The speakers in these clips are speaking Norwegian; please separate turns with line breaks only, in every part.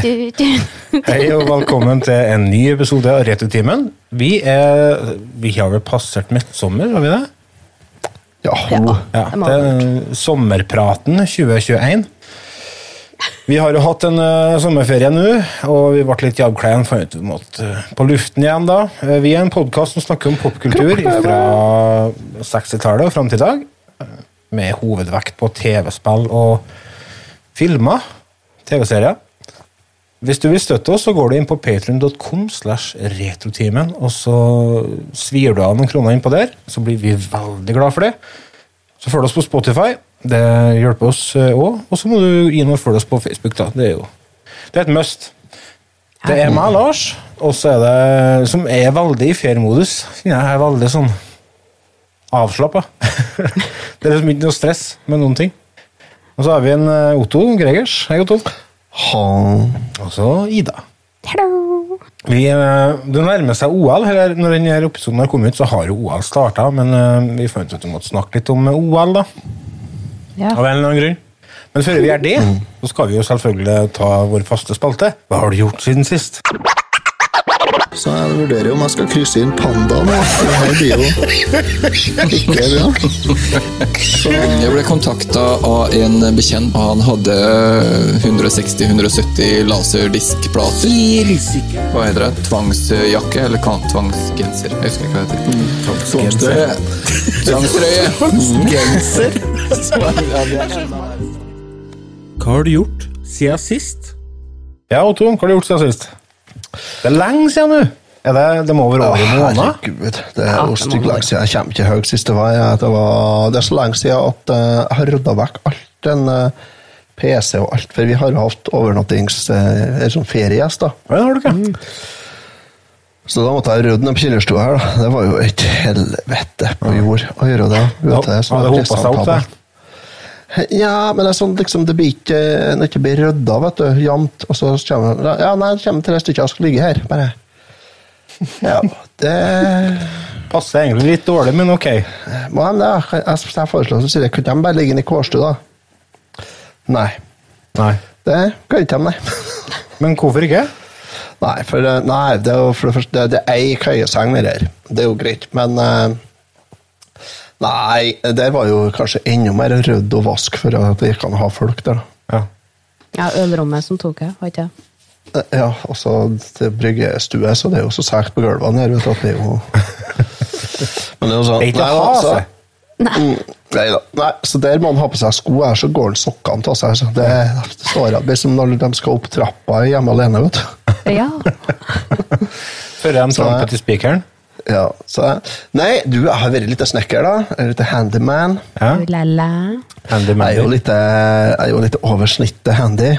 Hei og velkommen til en ny episode av Returtimen. Vi er Vi har vel passert midtsommer, har vi det?
Ja.
Ja.
Ja,
det må
det er Sommerpraten 2021. Vi har jo hatt en eh, sommerferie nå, og vi ble litt jobbklein for at vi måtte eh, på luften igjen da. Eh, vi er en podkast som snakker om popkultur fra 60-tallet og fram til i dag, eh, med hovedvekt på TV-spill og filmer, TV-serier. Hvis du vil støtte oss, så går du inn på patreon.com slash retrotimen, og så svir du av noen kroner inn på der, så blir vi veldig glad for det. Så følg oss på Spotify, det hjelper oss òg. Og så må du inn og følge oss på Facebook, da. Det er jo det er et must. Det er meg, Lars, og så er det som er veldig i feriemodus. Jeg er veldig sånn avslappa. det er liksom ikke noe stress med noen ting. Og så har vi en eh, Otto Gregers. Hei, Otto.
Ha.
Og så Ida.
Hello!
Vi, eh, det nærmer seg OL. Her, er- når denne episoden har kommet ut, så har jo OL starta, men eh, vi fant ut at vi måtte snakke litt om eh, OL, da.
Ja.
Av en eller annen grunn. Men før vi gjør det, så skal vi jo selvfølgelig ta vår faste spalte. Hva har du gjort siden sist?
Så jeg vurderer jo om jeg skal krysse inn pandaen. jeg. For det her blir jo ikke bra.
Jeg ble kontakta av en bekjent. Han hadde eh, 160-170 laserdiskplater. Hva heter det? Tvangsjakke? Eller kan- tvangsgenser? Jeg husker ikke hva det heter.
Tvangstrøye.
Trøye. Tvangstrøye.
Hva har du gjort siden sist? Ja, Otto, hva har du gjort siden sist? Det er lenge siden nå. Er det, det må være
Å,
over i måneden.
Ah, Herregud, det er
Ja, det
jo
må
stygt
man.
lenge siden. Jeg kommer ikke høyt sist det var. Jeg, det, var det er så lenge siden at eh, jeg har rydda vekk alt den eh, PC og alt, for vi har jo hatt overnattings eh, eller sånn feriegjest, da.
Ja, det har du ikke.
Så da måtte jeg rydde ned på kjellerstua her, da. Det var jo et helvete på jord å gjøre det.
Ja,
Vet
ja,
du, så
det hopet seg opp,
presentabelt. Ja, men det er sånn liksom, det blir ikke, når det ikke blir rydda, vet du, jevnt, og så kommer det Ja, nei, det kommer tre stykker som skal ligge her, bare. Ja, det
Passer egentlig litt dårlig, men ok.
Må de det? Jeg, jeg, jeg foreslår så sier jeg, kunne de bare ligge inne i kårstua? Nei.
Nei.
Det kan ikke de, nei.
Men hvorfor ikke?
Nei, for, eh, nei, det er jo for det første Det, det er ei køyeseng med det her. Det er jo greit, men eh, Nei, det var jo kanskje enda mer rydde og vask for at det gikk an å ha folk der. da.
Ja.
Ja, ølrommet som tok jeg, var ikke det?
Eh, Ja, og så til bryggestue, så det er jo så sært på gulvene her, vet du, at det er jo Men det er jo sånn
Det er ikke
Nei
å
da,
ha
så-
seg.
Mm, Nei da. Nei, så der må han ha på seg sko, her så går han sokkene til seg. Så det, det står at liksom når de skal opp trappa hjemme alene, vet du.
Ja.
Før de trampet i spikeren.
Ja, så Nei, du, jeg har vært litt snekker, da. Jeg er Litt handyman.
Ja.
Ulala.
Handy
Jeg er jo
Mandy.
litt, eh, jeg er jo litt over snittet handy.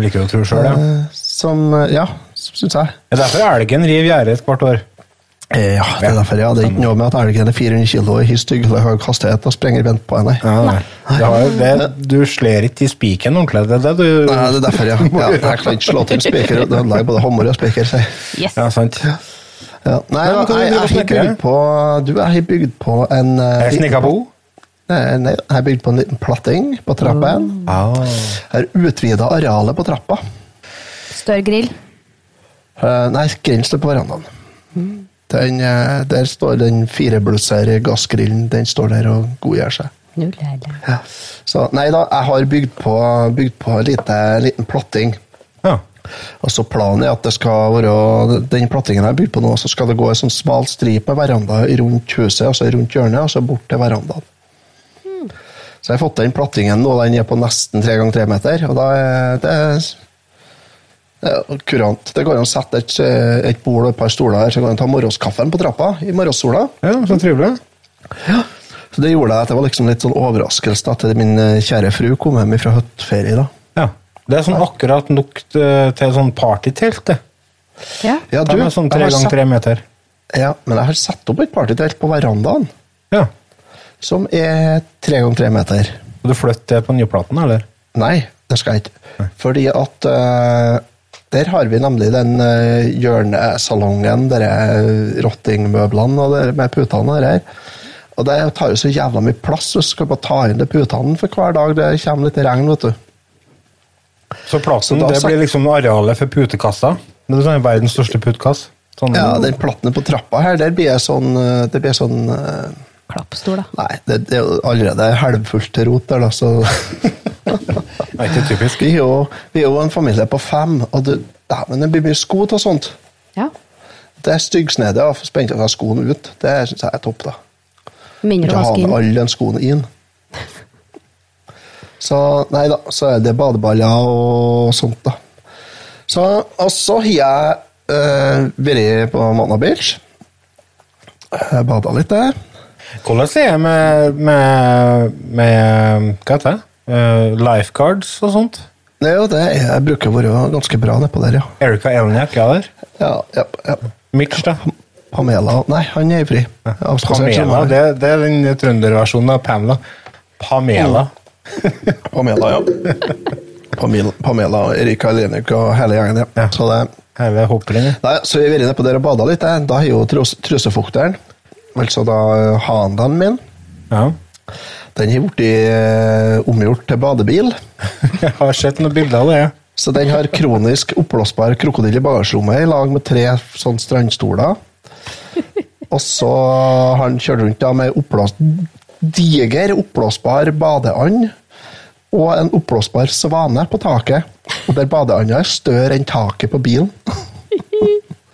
Liker du å tro sjøl, ja.
Eh, Som Ja, syns jeg.
Det er derfor elgen river gjerdet et hvert år.
Eh, Ja, det er derfor jeg hadde ikke noe med at elgen er 400 kilo i stygg eller høy hastighet og sprenger vent på henne.
Ja, nei. Det har, jo- det, du sler ikke i spiken ordentlig. Det er det du
Nei, det er derfor, ja. ja jeg kan ikke slå til en spiker og ødelegge både hammer og spiker. sier jeg.
Yes.
Ja, sant.
Ja.
Men hva
Nei, jeg, jeg,
driver du
har
og snakker
bygd
om?
på Du, jeg har bygd på en eh,
Jeg snikker på henne.
Nei, nei, jeg har bygd på en liten platting på trappen. Jeg har utvida arealet på trappa.
Større grill.
Eh, Nei, grillen står på verandaen.
Mm.
Den, eh, der står den fireblusser gassgrillen. Den står der og godgjør seg.
Ulala.
Ja. Så nei da, jeg har bygd på, bygd på en lite, liten platting.
Ja.
Og så planen er at det skal være den plattingen jeg har bygd på nå, så skal det gå en sånn smal stripe veranda rundt huset, altså rundt hjørnet, og så bort til verandaen. Så jeg har fått den plattingen nå, den er på nesten tre ganger tre meter, og da er det, det er kurant. Det går an å sette et, et bord og et par stoler her, så går an å ta morgenskaffen på trappa i morgensola.
ja, så trivelig.
Så det gjorde jeg at det var liksom litt sånn overraskelse da, til min eh, kjære fru kom hjem fra høttferie da.
Ja. Det er sånn akkurat nok eh, til sånn partytelt. det.
Ja.
Ja,
De er sånn tre
jeg har
ganger
satt-
tre meter.
Ja, men jeg har satt opp et partytelt på verandaen.
Ja.
Som er tre ganger tre meter.
Skal du flytte det på nyplaten, eller?
Nei, det skal jeg ikke. Fordi at eh, der har vi nemlig den eh, hjørnesalongen, der er rottingmøblene og der med putene og det her. Og det tar jo så jævla mye plass, så skal jeg bare ta inn de putene for hver dag det kommer litt regn, vet du.
Så
Så
platen
da
det
sa-
blir liksom arealet for putekassa. Det er sånn verdens største putekass. Sånn,
Ja, den platen på trappa her, der blir jeg sånn eh, Det blir sånn eh,
Klappstol, da.
Nei, det, det er jo allerede halvfullt til rot der, da, så
det er ikke typisk.
vi, er jo, vi er jo en familie på fem, og det, dæven, det blir mye sko til sånt.
Ja.
Det er styggsnedet å få spent av seg skoene ut. Det syns jeg er topp, da.
Mindre å
Ikke ha
vaske
med
inn.
alle de skoene inn. Så nei da, så er det badeballer og sånt, da. Så, og så har jeg eh, vært på Manna Beach. Jeg Bada litt der.
Hvordan er det med, med, med Hva heter det? Eh, lifeguards og sånt?
Det er jo det. Jeg bruker å være ganske bra nedpå der, ja.
Erika Elniak er der.
ja, ja, ja.
Mitch, da.
Pamela Nei, han er fri. Avspasert som
Pamela,
han er.
det, det er den trønderversjonen av Pamela. Oh. Pamela.
Pamela, ja. Pamela, Pamela Erika Elenik og hele gjengen, ja.
Ja.
Så det
Hele hopprennet.
Nei, så vi har vært inne på der og bada litt. jeg. Da har jo trus, trusefukteren, altså da eh, handen min,
Ja.
den har blitt eh, omgjort til badebil.
Jeg har sett noen bilder av det. ja.
Så den har kronisk oppblåsbar krokodille i bagasjerommet i lag med tre sånn strandstoler. Og så har han kjørt rundt da med oppblås, diger oppblåsbar badeand og en oppblåsbar svane på taket. Og der badeanda er større enn taket på bilen.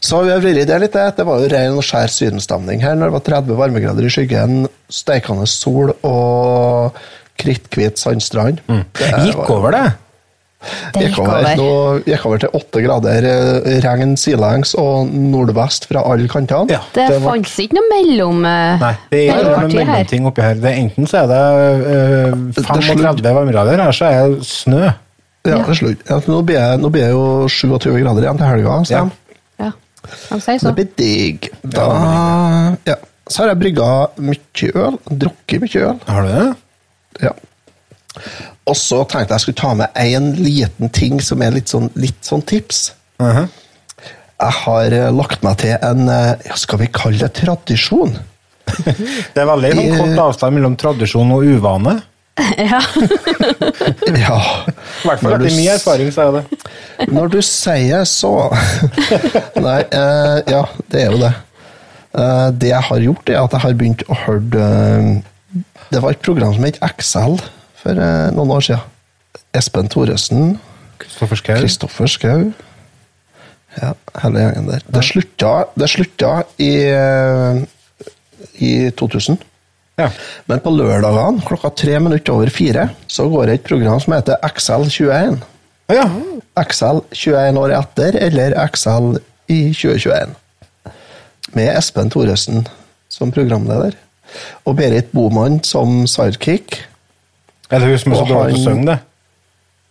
Så vi har vridd det litt. det. Det var jo ren og skjær sydenstemning her når det var 30 varmegrader i skyggen, steikende sol og kritthvit sandstrand.
Mm.
Det var-
Gikk over det?
Det
gikk over. Nå gikk over til åtte grader eh, regn sidelengs og nordvest fra alle kantene.
Ja.
Det
Det var-
fantes ikke noe mellom... eh,
Nei, det er ikke noen
mellomparti her.
mellomting oppi her. Det er enten så er det eh,
Det er
35 varmegrader, eller så er det snø.
Ja,
Ja.
det er slutt. Ja, nå, blir jeg, nå blir jeg jo 27 grader igjen til helga. Så
Ja.
Ja, de sier
Det
så.
blir digg. Da, ja. Så har jeg brygga mye øl. Drukket mye øl.
Har du det?
Ja. Og så tenkte jeg jeg skulle ta med én liten ting som er litt sånn, litt sånn tips.
Mhm.
Jeg har eh, lagt meg til en eh, ja, Skal vi kalle det tradisjon?
Det er veldig sånn, kort avstand mellom tradisjon og uvane.
Ja.
Ja.
I hvert fall
Når du
etter min
s-
erfaring, så er det.
Når du sier så Nei, eh, ja, det er jo det. Eh, det jeg har gjort, er at jeg har begynt å høre eh, Det var et program som het Excel for eh, noen år siden. Espen Thoresen,
Kristoffer Schau.
Kristoffer Schou Ja, hele gjengen der. Det slutta, det slutta i, eh, i 2000.
Ja.
Men på lørdagene klokka tre minutter over fire så går det et program som heter Excel 21.
Å ja.
XL 21 år etter, eller XL i 2021. Med Espen Thoresen som programleder. Og Berit Boman som sidekick.
Er det hun som er så
Og
dårlig
han-
til å synge, det?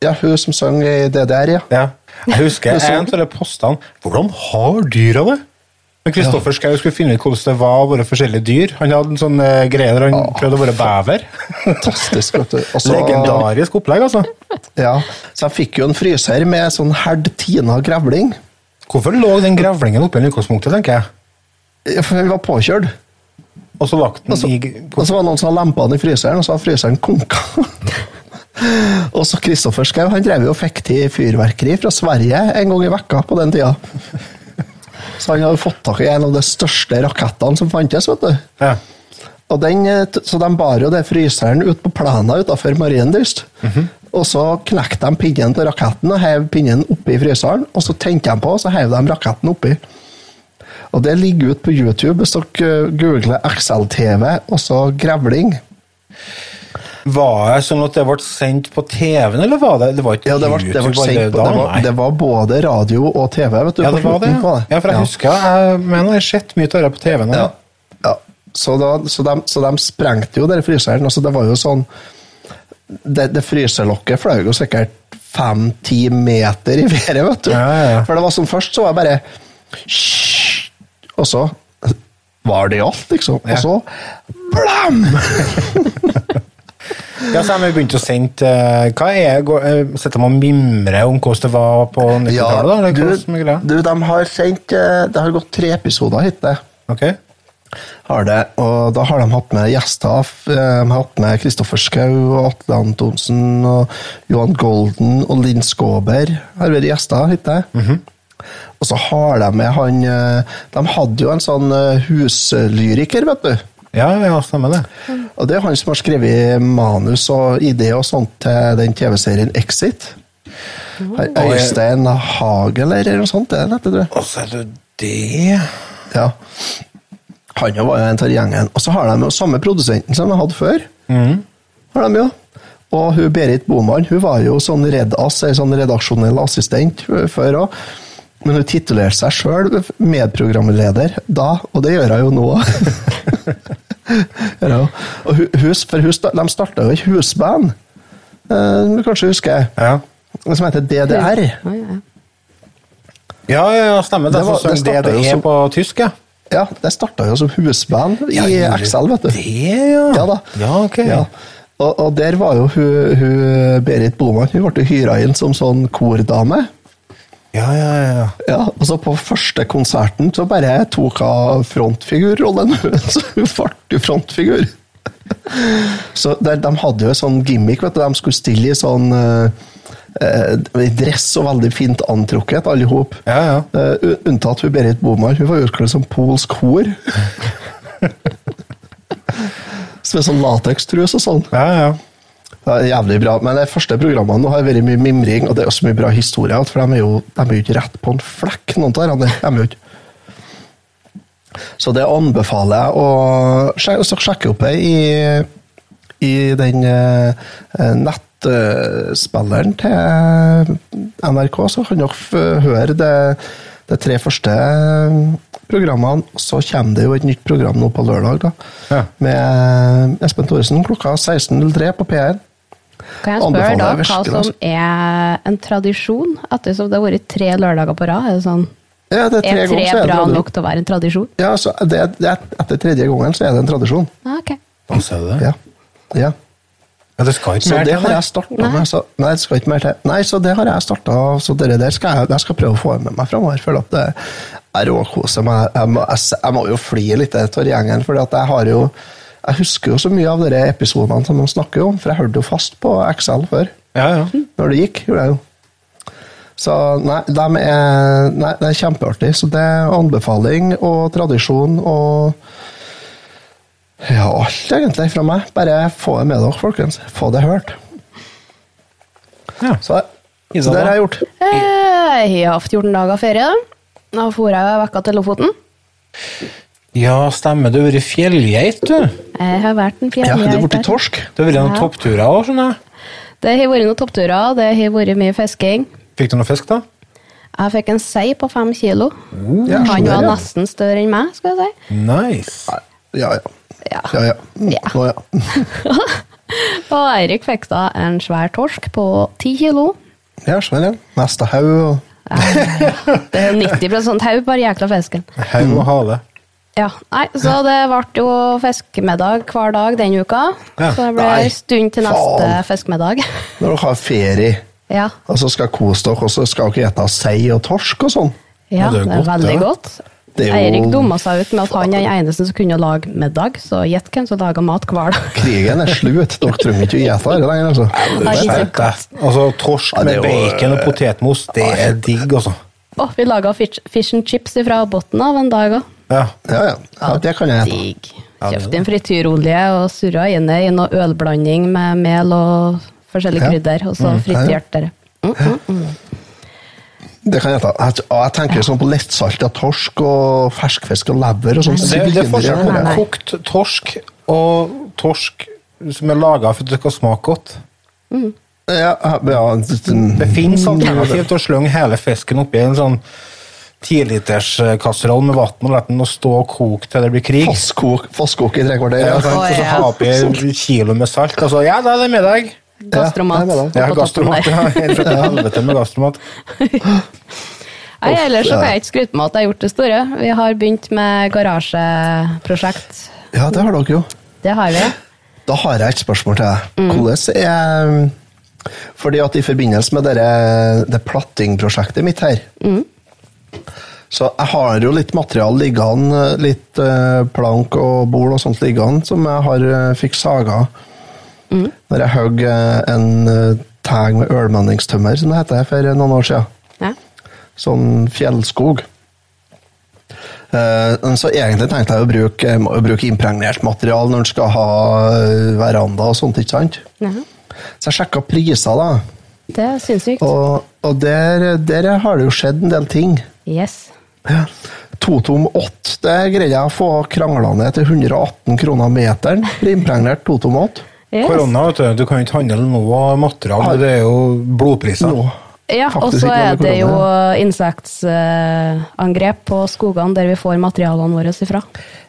Ja, hun som sang i det der, ja.
Ja. Jeg husker
Det er så-
en av de postene Hvordan har dyra det? Men Kristoffer Schau skulle finne ut hvordan det var å være forskjellige dyr. Han hadde en sånn eh, greie der han prøvde å være bever.
Fantastisk, vet du. Og så-
Legendarisk opplegg, altså.
Ja, så jeg fikk jo en fryser med sånn herd Tina grevling.
Hvorfor lå den grevlingen oppe i utgangspunktet, tenker jeg.
Ja, For den var påkjørt.
Og så lagt den
Og så,
i
og så var det noen som hadde lempa den i fryseren, og så hadde fryseren konka. og så Kristoffer Schou, han drev jo og fikk til fyrverkeri fra Sverige en gang i vekka på den tida. Så han hadde fått tak i en av de største rakettene som fantes, vet du.
Ja.
Og den, eh, t- så de bar jo det fryseren ut på plena utafor Marienlyst. Og så knekte de pinnen til raketten og heiv pinnen oppi fryseren. Og så tente de på, og så heiv de raketten oppi. Og det ligger ute på YouTube hvis dere eh, googler XL-TV og så grevling.
Var det sånn at det ble sendt på TV-en, eller var det Det var ikke
Ja, det var, det var,
YouTube
sendt, på-
da,
det, var,
nei.
det var både radio og TV, vet du.
ja,
på
det var det.
slutten
Ja,
på
Ja, for jeg husker Jeg mener jeg har sett mye av det på TV-en.
Ja.
Ja.
ja. Så, da, så, de, så de sprengte jo den fryseren. Altså, det var jo sånn Det, det fryselokket fløy jo sikkert fem-ti meter i været, vet du.
Ja, ja, ja.
For det var som først, så var jeg bare «Hysj!» Og så var det alt, liksom.
Ja.
Og så blam!
ja, så har vi begynt å sende eh, Hva er går- eh, Sitter man og mimrer om hvordan det var på 90-tallet, da? Eller
du,
hvordan er greia?
du, de har sendt eh, Det har gått tre episoder hittil.
Ok.
Har det, og da har de hatt med gjester. f- eh, De har hatt med Kristoffer Schou og Atle Antonsen og Johan Golden og Linn Skåber. Har vært gjester, heter det. Og så har de med han eh, De hadde jo en sånn eh, huslyriker, vet du.
Ja, ja, stemmer det.
Og det er han som har skrevet manus og ideer og sånt til den TV-serien Exit. Har Øystein Hageler eller noe sånt, er det dette, tror jeg.
Og så er det det
Ja. Han jo var jo en av gjengen. Og så har de jo samme produsenten som de hadde før.
Mm.
Har de jo. Og hun Berit Boman hun var jo sånn redass, ei sånn redaksjonell assistent eh, før òg. Men hun titulerte seg sjøl medprogramleder da, og det gjør hun jo nå. Gjør hun jo. og hu- hus, for hus, de starta jo et husband, eh, du kanskje husker,
Ja,
som heter DDR.
Ja, ja.
ja, ja, ja stemmer det.
Det var-
så
det
sang
startet jo
DDE
som-
på tysk, ja.
Ja, Det starta jo som husband i
gjorde
Excel, vet du.
Det, ja.
Ja da.
Ja, ok.
Ja. Og, og der var jo hun, hun Berit Boman, hun ble hyra inn som sånn kordame.
Ja, ja, ja.
Ja, og så på første konserten så bare tok hun frontfigurrollen. Så hun ble jo frontfigur. Så der, de hadde jo en sånn gimmick, vet du. De skulle stille i sånn eh, eh, i dress og veldig fint antrukket, alle i hop.
Ja, ja.
Eh, un- unntatt hun Berit Boman. Hun var utkledd som polsk hor. Så med sånn latekstrus og sånn.
ja, ja.
Det er jævlig bra, men de første programmene nå har vært mye mimring, og det er også mye bra historier, for de er jo, de er jo ikke rett på en flekk, noen av dem. De er jo ikke. Så det anbefaler jeg å sjekke, så sjekke opp det i, i den eh, nettspilleren til NRK, så kan dere f- høre det, de tre første programmene. Så kommer det jo et nytt program nå på lørdag, da.
Ja.
Med Espen Thoresen klokka 16.03 på P1.
Kan jeg spørre
Anbefaler
da
jeg
hva
virkelig,
som
altså.
er en tradisjon? Ettersom det har vært tre lørdager på rad, er det sånn
Ja, det er tre
Er
ganger, så
tre
er det
bra
tradisjon.
nok til å være en tradisjon?
Ja, så det, det, er- etter tredje gangen så er det en tradisjon.
Ja, ok.
Og så er det det.
Ja. ja.
Ja, det skal ikke
Så
mer
det har
nei.
jeg startet med. Så, nei, det skal ikke mer til. Nei, så det har jeg starta, så dere der skal jeg, jeg skal prøve å få med meg framover. Føler at det er råkose meg. Jeg, må- jeg, s- jeg må jo flire litt av gjengen, for jeg har jo jeg husker jo så mye av de episodene som de snakker om, for jeg hørte jo fast på Excel før.
Ja, ja.
når det gikk, gjorde jeg jo. Så nei, de er, nei, det er kjempeartig. Så det er anbefaling og tradisjon og Ja, alt egentlig fra meg. Bare få det med dere, folkens. Få det hørt.
ja.
Så, så
Ida,
det
da?
har jeg gjort.
Eh, Jeg har hatt 14 dager ferie. da. Da for jeg vekka til Lofoten.
ja stemmer. Du har vært fjellgeit, du.
Jeg har vært en
Ja, du
fjellgeit
er blitt
der.
torsk.
Det har vært noen
Ja.
toppturer òg, skjønner jeg.
Det har vært noen toppturer, det har vært mye fisking.
Fikk du noe fisk, da?
Jeg fikk en sei på fem kilo.
Mm. Ja,
Mm. Han var
ja.
nesten større enn meg, skal jeg si.
Nice.
Ja, ja.
Ah, Ja.
Ja, ja.
Ja.
Å, ja.
Og Eirik fikk da en svær torsk på ti kilo.
ja skjønner jeg. Neste haug og
Det er 90 hau, bare jækla fisken.
Haug og hale.
Ja, nei, Så det ble jo fiskemiddag hver dag den uka.
Ja,
Så det ble
nei,
en stund til neste
faen.
fiskemiddag.
Når dere har ferie,
Ja.
og så skal kose dere, og så skal dere spise sei og torsk og sånn.
Ja,
Ja, det er
det er
godt,
veldig
det.
godt.
Det er jo-
Eirik dumma seg ut med at han er den eneste som kunne lage middag, så gjett hvem som laga mat hver dag.
Krigen er slutt. Dere trenger ikke å gjete dette lenger. altså.
Nei, ikke
Skjerp deg. Altså, torsk
Ja, det
med
er jo, eh,
bacon og potetmos, det er digg, altså.
Å, vi laga fish, fish and chips fra bunnen av en dag òg.
Ja.
Ja, ja. ja det kan jeg gjette.
Digg. Kjøpte inn frityrolje og surra inn i noe ølblanding med mel og forskjellige
Ja.
krydder, og så frityrte det.
Det kan jeg gjette. Jeg, og jeg tenker sånn på lettsalta torsk og ferskfisk og lever og sånn.
Det, det er forskjell
Nei,
på
nei.
kokt torsk og torsk som er laga for at det skal smake godt.
Ja, ja,
Det
ja,
fins
Mm.
alternativ til å slynge hele fisken oppi en sånn tiliterskasseroll med vann og la den stå og koke til det blir krig.
Fosskok fosskok i tre kvarter.
Ja,
Ja.
sant?
Å,
Og så
ja.
ha oppi en kilo med salt. Altså, ja, da er det middag.
Gastromat.
Ja,
Ja,
på toppen
gastromat.
der.
Ja, helt til helvete med gastromat.
Nei, ellers så
ja.
kan jeg ikke skryte med at jeg har gjort det store. Vi har begynt med garasjeprosjekt.
ja, det har dere jo.
Det har vi.
Da har jeg et spørsmål til deg. Hvordan er um, fordi at I forbindelse med dere, det plattingprosjektet mitt her, Så jeg har jo litt materiale liggende, litt eh, plank og bol og sånt liggende, som jeg har eh, fikk saga. Når jeg hogg eh, en eh, tag med ølmenningstømmer, som det heter, for noen år siden.
Ja.
Sånn fjellskog. Eh, men så egentlig tenkte jeg å bruke, eh, å bruke impregnert materiale når en skal ha eh, veranda og sånt, ikke sant?
Ja.
Så jeg sjekka priser, da.
Det er sinnssykt.
Og, og der, der har det jo skjedd en del ting.
Yes.
Ja. Totom 8, det greide jeg å få krangla ned til 118 kroner meteren. for Impregnert totom 8.
yes.
Korona, vet du. Du kan jo ikke handle noe av materiale. Det er jo blodpriser.
Nå,
Ja, og
faktisk
så
ikke
er
noe med
det jo
korona.
insektangrep på skogene der vi får materialene våre ifra.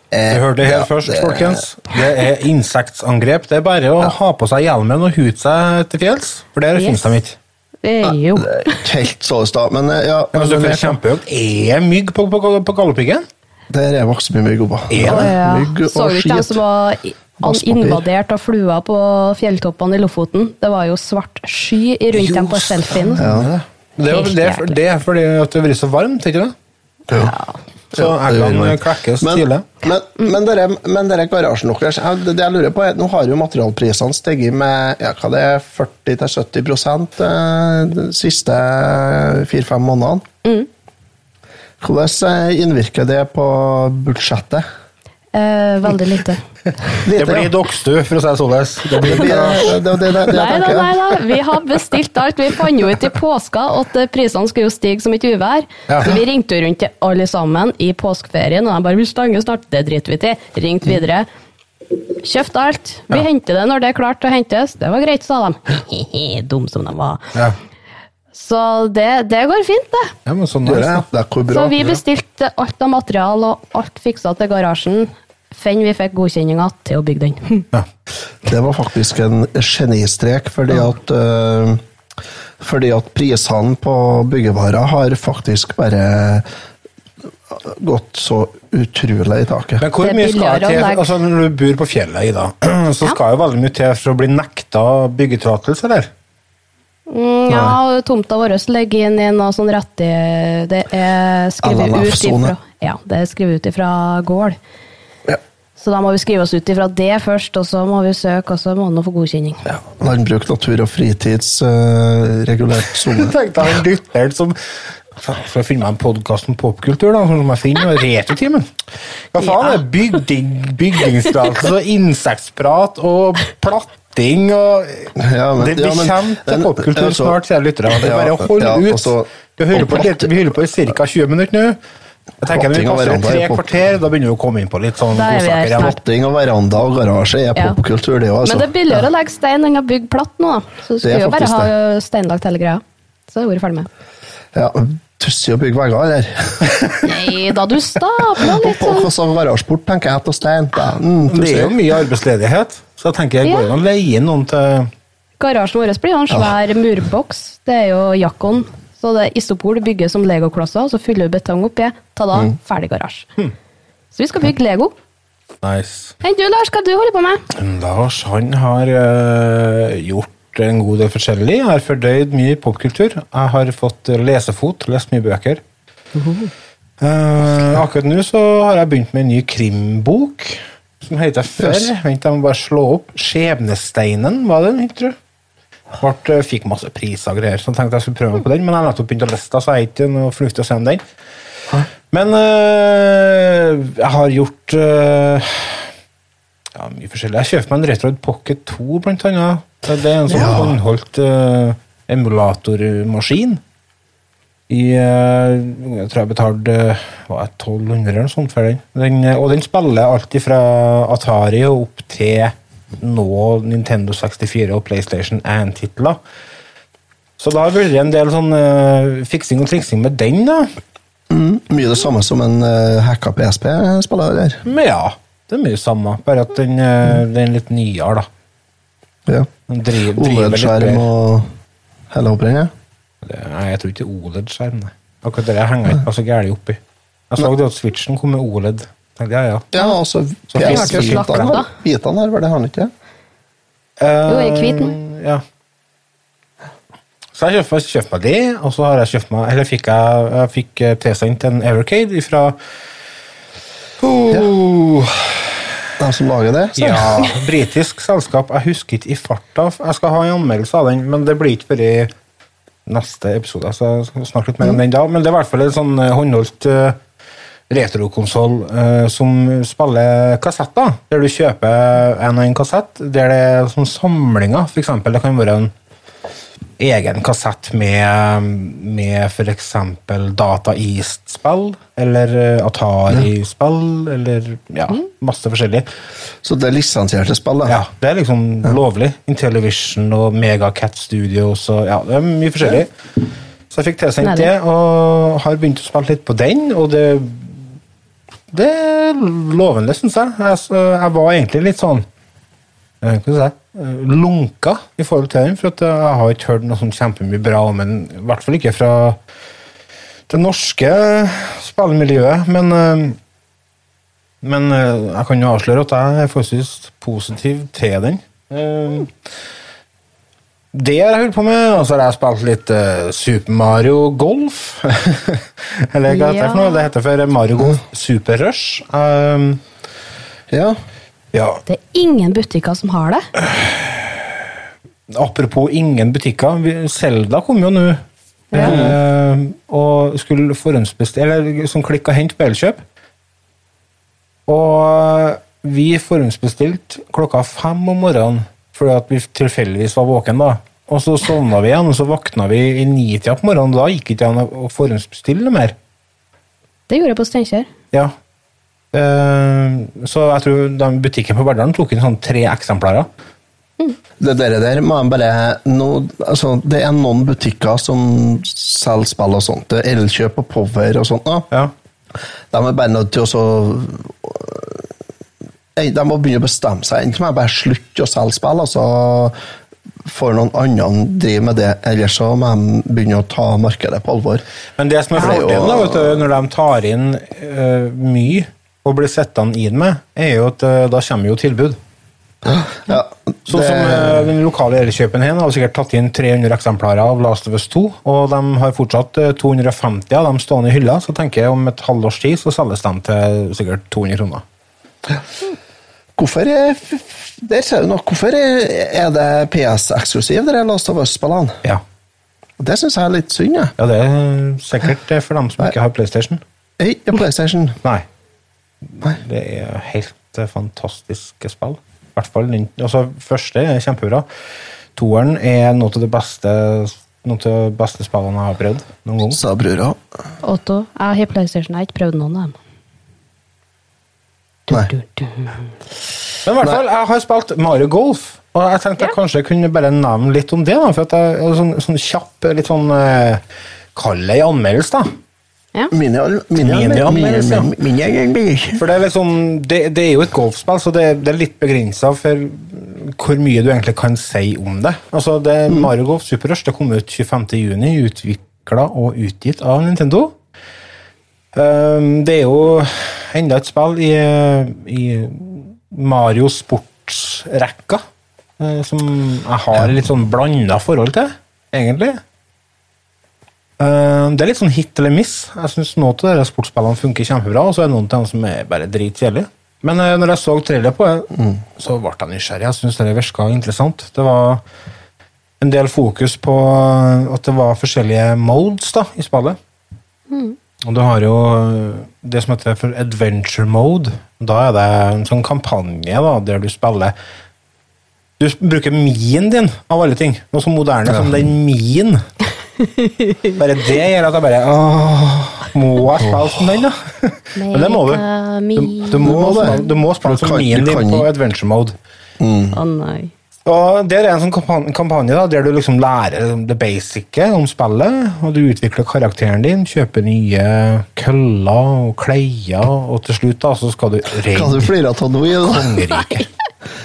Du hørte det her først, folkens. Det er insektangrep. Det er bare å ha på seg hjelmen og hute seg til fjells, for der
Yes.
finnes de ikke.
Eh, Jo.
Det er ikke helt så i stad, men eh, ja.
Ja, men så
men
for
jeg-
kjempehøyt. Er det mygg på, på, på Galdhøpiggen?
Der er vokst mye mygg oppå.
Er
Å,
det?
ja.
Mygg og
Så du ikke de
skit.
som var i-
Vasspapir.
invadert av flua på fjelltoppene i Lofoten? Det var jo svart sky i rundt dem på selfien.
Ja.
Det er, jo- det, er, det er fordi at det har vært så varmt, ikke det? Så
Ja, det
eggene
gjør det.
klekkes
Men-
tidlig.
Men, men, dere, men dere garasjen deres, jeg- det jeg lurer på er, nå har jo materialprisene steget med ja, hva det er, 40-70 eh, de siste fire-fem månedene. Hvordan eh, innvirker det på budsjettet?
Eh, veldig lite.
Det
Lite,
blir
ja.
dokkstu, for å si det sånn. således. Det
Det
blir
blir- det- det- det- det-
Nei
det jeg
da,
tenker,
nei
ja.
da. Vi har bestilt alt. Vi fant jo ut i påska at eh, prisene skulle jo stige som et uvær.
Ja.
Så vi ringte jo rundt til alle sammen i påskeferien, og de bare 'Vi stanger snart'. Det driter vi til.
Mm.
Ringte videre. Kjøpt alt. Vi henter det når det er klart å hentes. Det var greit, sa de. He-he, dum som de var.
ja.
Så det, det går fint, det.
ja, men sånn er
Gjør det,
det.
ja. Det er hvor bra.
Så vi bestilte alt av material og alt fiksa til garasjen. Fenn vi fikk godkjenninga til å bygge den.
Ja.
Det var faktisk en genistrek, fordi at eh, fordi at prisene på byggevarer har faktisk bare gått så utrolig i taket.
Men hvor
Det er
mye skal
billigere å
til
legge-
altså Når du bor på fjellet, Ida, så
Ja.
skal jo veldig mye til for å bli nekta byggetillatelse, eller?
Mm, ja, og tomta vår ligger inn i noe sånn rettig Det er skrevet ut
LLF-sone.
ifra Ja, det er skrevet ut ifra gård.
Ja.
Så da må vi skrive oss ut ifra det først, og så må vi søke, og så må vi nå få godkjenning.
Ja. Landbruk, natur og fritids eh, regulert
Jeg
sone.
tenkte jeg en lytter som Faen, Skal jeg finne meg en podkast om popkultur, da? Som jeg finner og Retrotimen. Hva faen er bygding, bygningstillatelse og insektprat og platting og
Ja, men-
Det, det
ja, men-
kommer til
men-
popkultur
altså-
snart, sier lyttere. Det er
Ja,
bare å holde
ja,
ut.
altså,
Du hører
og
på,
platt-
vi holder på i ca. 20 minutter nå. Jeg tenker Når vi
Platting og
passer
veranda
tre
er pop-
kvarter, da begynner vi å komme inn på litt sånn
Da er vi
godsaker
her
igjen.
snart.
Platting og veranda og garasje er
Ja.
popkultur, det òg, altså.
Men det er billigere å legge stein enn å bygge platt nå, da. Så
Det
skulle
er
jo bare
faktisk
ha steinlagt hele greia. Så det er ordet ferdig med.
Ja, Tussig å bygge vegger der.
Nei da, du stabla
Og
litt
på-
sånn.
og så garasjeport, tenker jeg, til stein. Da, Mm,
Det er jo
tussig.
mye arbeidsledighet, så jeg tenker jeg går
Ja.
inn og leier inn noen til
Garasjen vår blir jo en svær murboks. Det er jo Jakon. Så det er isopor du bygger som legoklosser, og så fyller du betong oppi. Ta da, ferdig garasje. Så vi skal bygge Lego.
Nice.
Enn du, Lars, hva du holder på med?
Lars han har eh, gjort en god del forskjellig. Jeg har fordøyd mye popkultur. Jeg har fått eh, lesefot, lest mye bøker. Eh, akkurat nå så har jeg begynt med en ny krimbok som heter Før.
Yes.
Vent, jeg må bare slå opp. 'Skjebnesteinen', var det den het, tror jeg. Fikk masse priser og greier, så jeg tenkte jeg skulle prøve meg på den. Men jeg har nettopp begynt å lese, den, så jeg er ikke noe fornuftig å se om den. Men eh, jeg har gjort eh, ja, mye forskjellig. Jeg kjøpte meg en Retroid Pocket 2, blant annet. Det det er en sånn
Ja.
håndholdt eh, emulatormaskin. I, eh, jeg tror jeg betalte eh, hva er det, 1200 eller noe sånt for den. den. eh, Og den spiller alt fra Atari og opp til nå Nintendo 64 og PlayStation 1-titler. Så da har det vært en del sånn eh, fiksing og triksing med den, da.
Mm, mye det samme som en eh, hacka PSP-spiller der.
Men ja, det er mye samme, bare at den, eh, den er litt nyere, da.
Ja.
Den driver, driver litt
OLED-skjerm
bedre.
og hele opprennet.
Det- Nei, jeg tror ikke OLED-skjerm, nei. Akkurat det der henger jeg ikke så gærent oppi. Jeg så det at Switchen kom med OLED. Tenkte, ja, ja.
Ja, altså,
finnes
PS4
det slakta,
bitene
da.
har- Bitene her, var det han ikke?
Eh,
Jo, i hvit nå.
Ja. Så jeg kjøpte, kjøpte meg det, og så har jeg kjøpt meg, eller fikk jeg, jeg fikk eh, tilsendt en Evercade fra oh,
De som lager det? så-
ja. britisk selskap. Jeg husker ikke i farta. Jeg skal ha en anmeldelse av den, men det blir ikke før i neste episode. Så jeg skal snakke litt mer om den da. Men det er i hvert fall en sånn eh, håndholdt eh, retrokonsoll eh, som spiller kassetter. Der du kjøper en og en kassett. Der det er sånn samlinger, f.eks. Det kan være en egen kassett med, med f.eks. Data East-spill, eller eh, Atari-spill, eller ja,
Mm.
masse forskjellig.
Så det er lisensierte spill, da?
Ja, Det er liksom lovlig. Intellivision og Megacat Studios og ja, det er mye forskjellig. Så jeg fikk tilsendt
Neilig.
det, og har begynt å spille litt på den, og det Det er lovende, syns jeg. jeg. s- Jeg var egentlig litt sånn eh, hva skal jeg si, eh, lunka i forhold til den, for at jeg har ikke hørt noe sånn kjempemye bra om den, i hvert fall ikke fra det norske spillmiljøet, men eh, men eh, jeg kan jo avsløre at jeg er forholdsvis positiv til den. Eh, Det har jeg holdt på med, og så har jeg spilt litt eh, Super Mario Golf. Eller hva heter det for noe?
Ja.
Det heter for Mario Golf Super Rush. Um,
Ja.
ja,
Det er ingen butikker som har det.
Apropos ingen butikker. vi- Selda kom jo nå. Eh, og skulle forhåndsbestille Eller som klikk og hent på Elkjøp. Og vi forhåndsbestilte klokka fem om morgenen fordi at vi tilfeldigvis var våken da. Og så sovna vi igjen, og så våkna vi i nitida på morgenen. og Da gikk det ikke an å forhåndsbestille noe mer.
Det gjorde jeg på Steinkjer.
Ja. Eh, så jeg tror den butikken på Verdalen tok inn sånn tre eksemplarer.
Det der, der må jeg bare nå- altså, Det er noen butikker som selger spill og sånt. Det er Elkjøp og Power og sånt. Da.
Ja.
De er bare nødt til å så Nei, De må begynne å bestemme seg. Enten må jeg bare slutte å selge spill, og så får noen andre drive med det, eller så må de begynne å ta markedet på alvor.
Men det som er
Ja, det er jo-
fordelen da, vet du, når de tar inn eh, mye og blir sittende inn med, er jo at eh, da kommer jo tilbud.
Ja,
Sånn
det-
som eh, den lokale elkjøpen her har sikkert tatt inn 300 eksemplarer av Last of Us 2, og de har fortsatt eh, 250 av dem stående i hylla, så tenker jeg om et halvårs tid så selges de til sikkert 200 kroner.
Hvorfor er, der ser du noe. Hvorfor er, er det PS-eksklusiv, det der Last of Us-spillene?
Ja,
Det syns jeg er litt synd. jeg.
ja det er sikkert eh, for dem som ikke har Playstation.
Hei, det er PlayStation.
Nei,
Nei.
det er helt eh, fantastiske spill. I hvert fall den altså, første er kjempebra. Toeren er noe av det beste noe av de beste spillene jeg har prøvd noen gang.
Sa brura.
Otto, jeg har PlayStation, jeg har ikke prøvd noen av dem.
Nei.
Du, du.
Men i hvert fall, jeg har spilt Mario Golf, og jeg tenkte jeg kanskje kunne bare nevne litt om det. da, for at jeg, jeg, sånn, sånn kjapp, litt sånn eh, Kall det en anmeldelse, da.
Ja.
Minial, minial,
Minial,
minial,
ja.
minial, minial, minial.
For det er, liksom, det, det er jo et golfspill, så det, det er litt begrensa for hvor mye du egentlig kan si om det. Altså, det Mario Golf Super Rush det kom ut 25.6, utvikla og utgitt av Nintendo. Ehm, det er jo enda et spill i, i Mario Sports-rekka, eh, som jeg har litt sånn blanda forhold til, egentlig. Eh, Det er litt sånn hit eller miss. Jeg synes Noen av dere sportsspillene funker kjempebra, og så er det noen av dem som er bare dritkjedelige. Men eh, når jeg så trailer på det, så ble jeg nysgjerrig. Jeg syns det virka interessant. Det var en del fokus på eh, at det var forskjellige modes da, i spillet. Og du har jo eh, det som heter for adventure mode. Da er det en sånn kampanje da, der du spiller Du bruker mien din, av alle ting. Noe så moderne som den mien. Bare det gjør at jeg bare Åh, må jeg spille som den, da? Men det må du. Du, du, må, spille- du må spille som
kan-
mien
du kan
din på
ikke-
adventure mode.
Å nei.
Og Der er en sånn kampan- kampanje da, der du liksom lærer liksom det basice om spillet. og Du utvikler karakteren din, kjøper nye køller og kleier, og til slutt da, så skal du
Hva du
redde
flirer av nå? Ida?
kongeriket.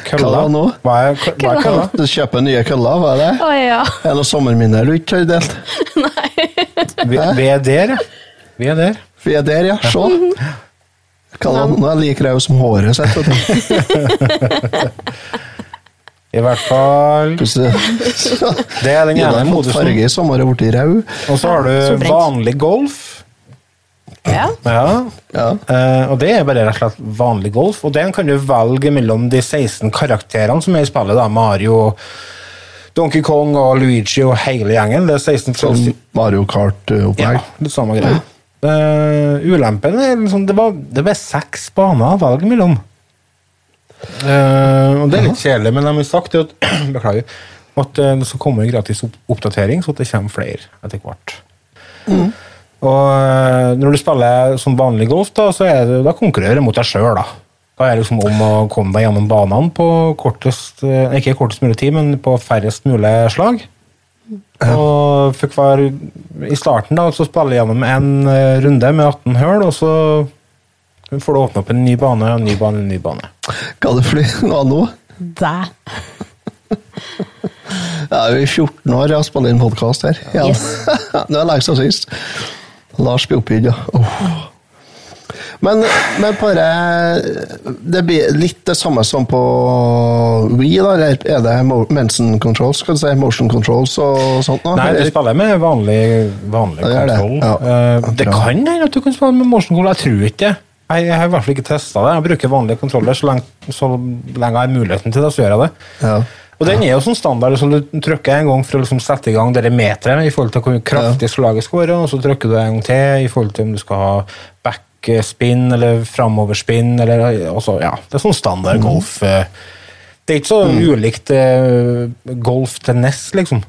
Hva var det nå?
Hva er, kø- hva er kølla?
Du kjøper nye køller, hva er det?
Å ja.
Er det noen sommerminner du ikke har delt?
Vi, vi er der, ja. Vi er der.
Vi er der, ja. Se. Hva var det? Nå er jeg like rød som håret sitt. vet du.
I hvert fall
Det
Det er den ene modusen.
Farge i sommer og blitt rød.
Og så har du
Solbrent.
vanlig golf.
Ja.
Ja.
Ja.
Eh, og det er bare rett og slett vanlig golf, og den kan du velge mellom de 16 karakterene som er i spillet. da, Mario, Donkey Kong og Luigi og hele gjengen. Det er 16
Sånn
forskjellige-
Mario Kart-opplegg.
Ja, litt samme greie. Eh, ulempen er liksom Det var det ble seks baner å velge mellom. Eh, og det er litt kjedelig, men jeg har sagt det at Beklager. At eh, det skal komme en gratis opp oppdatering, så at det kommer flere etter hvert. Og eh, når du spiller som vanlig golf, da, så er det, da konkurrerer du mot deg sjøl, da. Da er det liksom om å komme deg gjennom banene på kortest, eh, ikke kortest mulig tid, men på færrest mulig slag. Og for hver, I starten da, så spiller jeg gjennom en eh, runde med 18 høl, og så får du åpne opp en ny bane, en ny bane, en ny bane.
Hva det fly var nå?
Dæ.
Jeg er jo i 14 år og spiller inn podkast her. Ja.
Yes.
nå er det lenge siden sist. Lars blir oppgitt, ja. Åh. Men, men bare Det blir litt det samme som på Wii, da? Eller er det mo- mensen controls, skal du si? Motion controls og sånt? nå?
Nei, du spiller med vanlig, vanlig
Ja, det er det.
kontroll.
Ja.
Eh, det
Bra.
kan hende at du kan spille med motion control, jeg tror ikke det. Jeg, jeg har i hvert fall ikke testa det. Jeg bruker vanlige kontroller så lenge, så lenge jeg har muligheten til det. så gjør jeg det.
Ja.
Og den er jo sånn standard som du trykker en gang for å liksom sette i gang det meteret i forhold til hvor kraftig slaget skal være, og så trykker du en gang til i forhold til om du skal ha backspin eller framoverspin eller altså, ja, det er sånn standard golf. eh. Det er ikke så ulikt eh, golf til NES, liksom.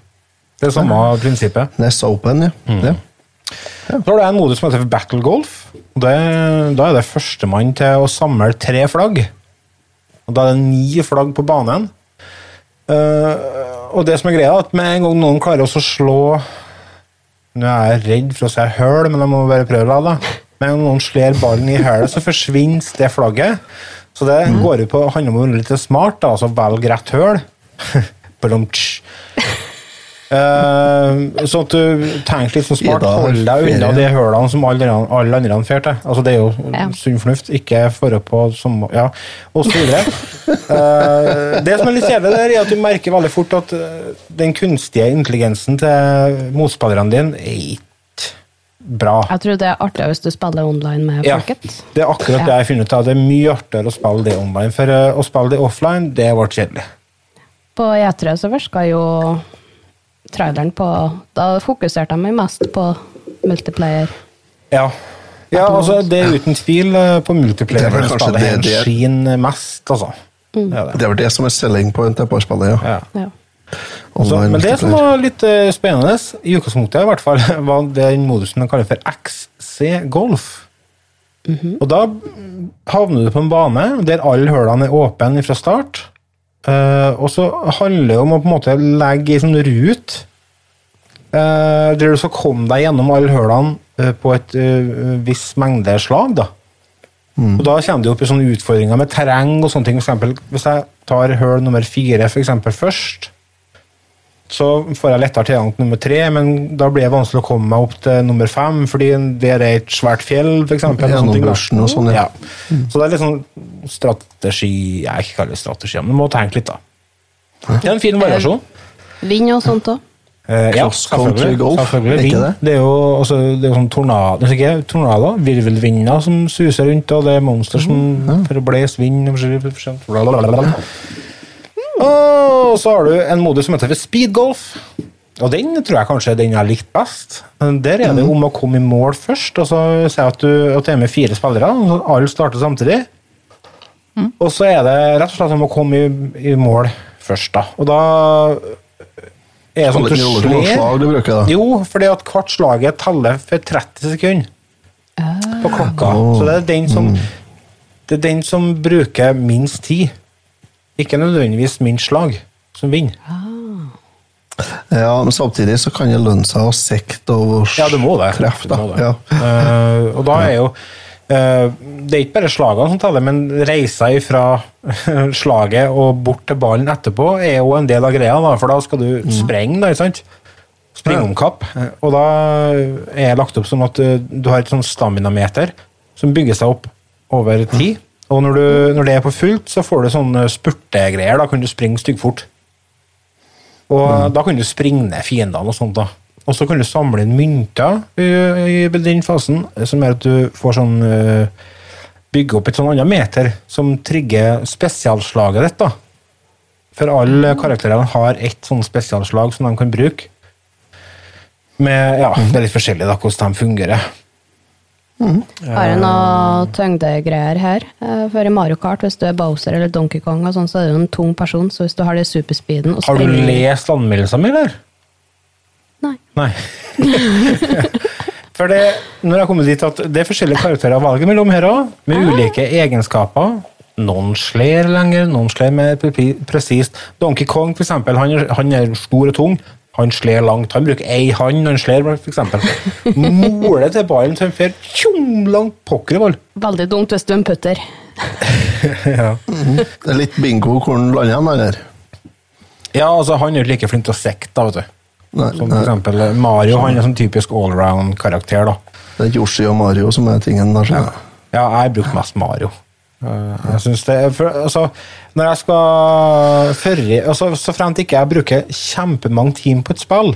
Det er samme prinsippet.
Nest Open, ja.
Mm.
ja.
Så har du en modus som heter Battle Golf. Og det, da er det førstemann til å samle tre flagg. Og da er det ni flagg på banen. Eh, og det som er greia, er at med en gang noen klarer også å slå Nå er jeg redd for å si høl, men jeg må bare prøve det. da. Med en gang noen slår ballen i hølet, så forsvinner det flagget. Så det går jo på å handle om å være litt smart, da, altså velge rett høl. Blomtsj. Eh, sånn at du tenker litt sånn smart.
Ida har
Hold deg unna
ferie.
de hølene som alle, andre- alle andre drar til. Altså, det er jo
Ja.
sunn fornuft. Ikke føre på som Ja, og så videre. Eh, det som er litt kjedelig, der, er at du merker veldig fort at eh, den kunstige intelligensen til motspillerne dine er ikke bra.
Jeg tror det er artigere hvis du spiller online med
Ja,
folket.
det er akkurat det jeg har funnet ut av. Det er mye artigere å spille det online. For eh, å spille det offline, det ble kjedelig.
På E3 så virka jo traileren på Da fokuserte de mest på multiplayer.
Ja. Ja, altså, det er uten tvil eh, på multiplayer
Det er vel
hvor
kanskje
spillet
det- det-
hen skinner mest, altså. Det er det.
Det er vel det som er selling point på spillet, ja.
Ja.
Ja.
Så,
Online
men det som
multiplayer.
var litt eh, spennende, i utgangspunktet i hvert fall, var den modusen de kaller for XC Golf. Og da havner du på en bane der alle hølene er åpne fra start. Eh, og så handler det om å på en måte legge ei sånn rut eh, der du skal komme deg gjennom alle hølene eh, på et eh, viss mengde slag. da. Og Da kommer du opp i sånne utfordringer med terreng og sånne ting. For eksempel, hvis jeg tar høl nummer fire for eksempel, først, så får jeg lettere tilgang til nummer tre, men da blir det vanskelig å komme meg opp til nummer fem, fordi det er et svært fjell, for eksempel.
Ja,
og sånne ting, da.
Nordbørsen og sånn, ja.
Så det er litt sånn strategi Jeg ikke kaller det strategi, men du må tenke litt, da. Det er en fin variasjon.
Vind og sånt òg.
Eh, ja,
Cross country
selvfølgelig,
golf,
selvfølgelig.
er ikke
Vind.
det?
Det er jo, altså, det er jo sånn tornado, ikke, tornado virvelvinder som suser rundt, og det er monster som forblåser vind og forskjellig- forskjellig- Mm, blablabla. Og så har du en modus som heter for speed golf. Og den tror jeg kanskje er den jeg har likt best. Men Der er det om å komme i mål først. og så Si at du at det er med fire spillere, og alle starter samtidig. Og så er det rett og slett om å komme i, i mål først, da. Og da er det sånn at du
Litt rolig på
slår
slag du bruker, da.
jo, fordi at hvert slaget teller for 30 sekunder på klokka. Så det er den som det er den som bruker minst tid. Ikke nødvendigvis minst slag, som vinner.
Ja, men samtidig så kan det lønne seg å sikte og
Ja, du må det.
treffe.
Du
Da.
må det.
Ja.
Eh, og da er jo eh, Det er ikke bare slagene som teller, men reisa fra slaget og bort til ballen etterpå er jo en del av greia, da, for da skal du
Mm.
sprenge, da, ikke sant? Springe om kapp. Eh, Og da er jeg lagt opp sånn at eh, du har et sånn staminameter som bygger seg opp
Mm.
over tid. Og når, du, når det er på fullt, så får du sånne spurtegreier. Da kan du springe styggfort. Og da kan du springe ned fiendene og sånt. da. Og så kan du samle inn mynter i, i den fasen, som gjør at du får sånn eh, Bygge opp et sånn annet meter som trigger spesialslaget ditt. da. For alle karakterene har ett sånn spesialslag som de kan bruke. Med, ja, Det er litt forskjellig da, hvordan de fungerer.
Har jeg
Eh.
noe tyngdegreier her? Eh, For i Mario Kart, hvis du er Bowser eller Donkey Kong, og sånn, så er du en tung person, så hvis du har det superspeeden og
Har du
springer-
lest anmeldelsen min, eller?
Eh. Nei.
Nei. For det, når jeg kommer dit at det er forskjellige karakterer å velge mellom her òg, med ulike egenskaper. Noen slår lenger, noen slår mer pre- presist. Donkey Kong, for eksempel, han er, han er stor og tung. Han slår langt. Han bruker ei hand når han slår, for eksempel. Måler til ballen til han fer tjom, langt pokker i ball.
Veldig dumt hvis du er en putter.
Ja.
Det er litt bingo hvor den lander hen, eller?
ja, altså, han er jo ikke like flink til å sikte, da, vet du.
Nei,
Som for
nei.
eksempel Mario, han er sånn typisk allround-karakter, da.
Det er Yoshi og Mario som er tingen der. skjønner jeg.
Ja, jeg har brukt mest Mario. Eh, Jeg synes det, er- for, altså, når jeg skal førre, altså, Så fremt ikke jeg bruker kjempemange timer på et spill,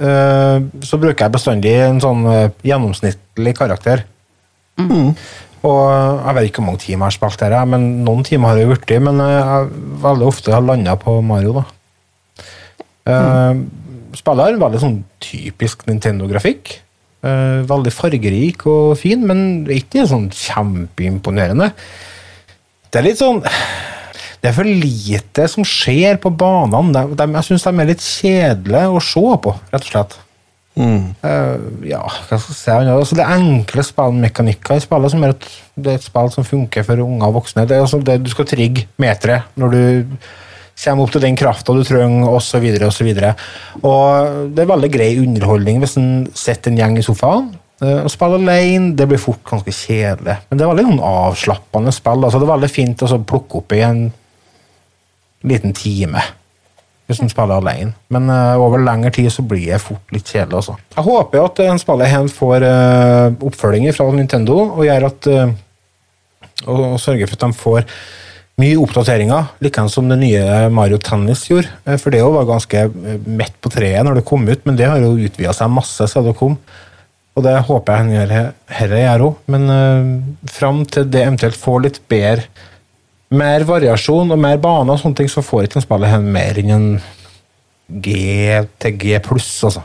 eh, så bruker jeg bestandig en sånn eh, gjennomsnittlig karakter. Og eh, Jeg vet ikke hvor mange timer jeg har spilt her, jeg, men noen timer har det blitt, men eh, jeg veldig ofte har landa på Mario. da. Eh, Spillet har en veldig sånn typisk Nintendo-grafikk. Eh, veldig fargerik og fin, men ikke sånn kjempeimponerende. Det er litt sånn Det er for lite som skjer på banene. De, de, jeg syns de er litt kjedelige å se på, rett og slett. Eh, ja, hva skal jeg si annet? altså, Det er enkle spillmekanikker i spillet som gjør at det er et spill som funker for unger og voksne. Det er altså det du skal trigge meteret når du kommer opp til den krafta du trenger, osv. osv. Det er veldig grei underholdning hvis en sitter en gjeng i sofaen eh, og spiller alene. Det blir fort ganske kjedelig, men det er veldig sånn avslappende spill. altså Det er veldig fint å så plukke opp i en liten time hvis man spiller alene. Men eh, over lengre tid så blir det fort litt kjedelig. Også. Jeg håper jo at eh, en spiller her får eh, oppfølging fra Nintendo, og gjør at eh, og, og sørger for at de får mye oppdateringer, likeens som det nye Mario Tennis gjorde. eh, For det jo var ganske eh, midt på treet når det kom ut, men det har jo utvida seg masse siden det kom. Og det håper jeg han gjør he- herre gjør òg, men eh, fram til det eventuelt får litt bedre mer variasjon og mer baner og sånne ting, så får ikke en spiller hen mer enn en G til G pluss, altså.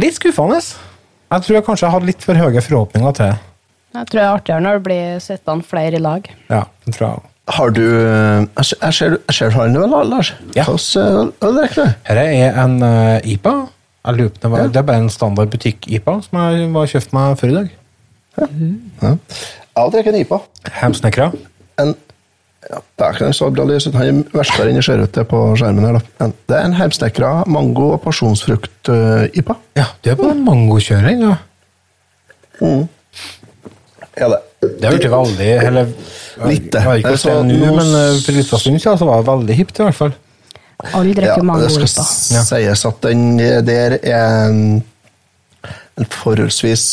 Litt skuffende. Jeg tror jeg kanskje jeg hadde litt for høye forhåpninger til det.
Jeg tror det er artigere når det blir sittende flere i lag.
Ja, det tror jeg.
Har du eh, Jeg ser- jeg ser jeg ser du har en øl, Lars.
Ja.
Hvordan øl drikker du?
Her er en eh, IPA. Jeg lurer på om det, var, det er bare en standard butikk-IPA som jeg var kjøpt meg før i dag.
Jeg drikker en IPA.
Hemsnekra.
En ja, der kan jeg så bra lys ut. Han er verstere enn det ser ut til på skjermen. her. da. En, det er en heimsnekra mango- og eh, pasjonsfrukt-IPA.
Ja, du er på den mangokjøring, ja.
Ja, det.
Det hørte veldig eller,
Litt, det.
Jeg vet ikke hvordan det er
Altså,
nå,
nå
men eh, for en liten stund siden så var det veldig hipt, i hvert fall.
Alle drikker mange
det
ord
skal
på.
Ja.
sies at den eh, der er en, en forholdsvis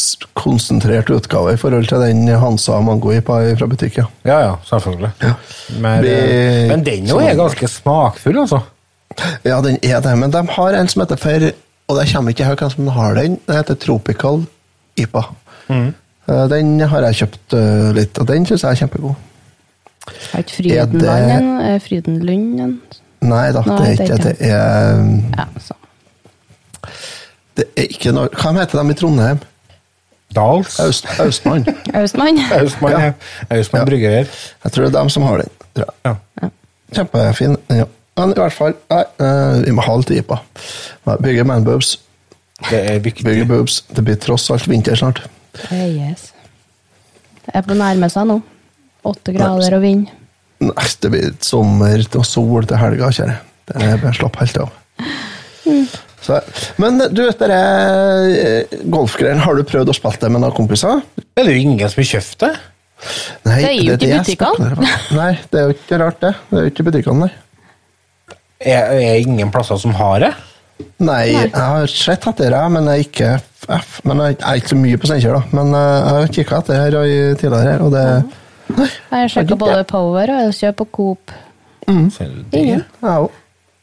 konsentrert utgave i forhold til den Hansa mango-IPA fra butikken.
Ja, ja, selvfølgelig. Men,
Vi-
eh, men den jo er ganske smakfull, altså.
Ja, den er det, men de har en som heter for Og det kommer ikke høyt hvem som har den. Den heter Tropical IPA.
Mm.
Eh, Den har jeg kjøpt eh, litt, og den syns jeg er kjempegod.
Har ikke
Er det-
Frydenland en? Er Frydenlund en?
Nei da,
Nei,
det er ikke
det er
det. Er, um,
Ja, så.
det er ikke noe Hva heter de i Trondheim?
Dals.
Aust, Austmann.
Austmann.
Austmann
Ja.
Austmann
Ja.
Brygger.
Jeg tror det er dem som har den. tror jeg.
Ja.
Kjempefin. Ja. Men i hvert fall, nei, eh, vi må ha litt IPA. Bygge manboobs.
Det er viktig.
Bygge boobs. Det blir tross alt vinter snart.
Eh, Yes. Det er på nærme seg nå. Åtte grader og vind.
Nei, det blir sommer og sol til helga, kjære. Det er bare slapp helt av. Så, men du vet dere eh, golfgreiene, har du prøvd å spille det med noen kompiser?
Er det jo ingen som har kjøpt det?
Nei,
Det er jo ikke i
jeg
butikkene.
spekulerer på. Nei, det er jo ikke rart det. Det er jo ikke i butikkene, nei.
Er, er ingen plasser som har det?
Nei, jeg har sett etter det, men jeg er ikke F, men jeg jeg er ikke så mye på Steinkjer, da. Men eh, jeg har kikka etter her og i- tidligere, her, og det
Jeg har sjekka både Power og Elkjøp og Coop.
Så det-
Ingen.
jeg òg.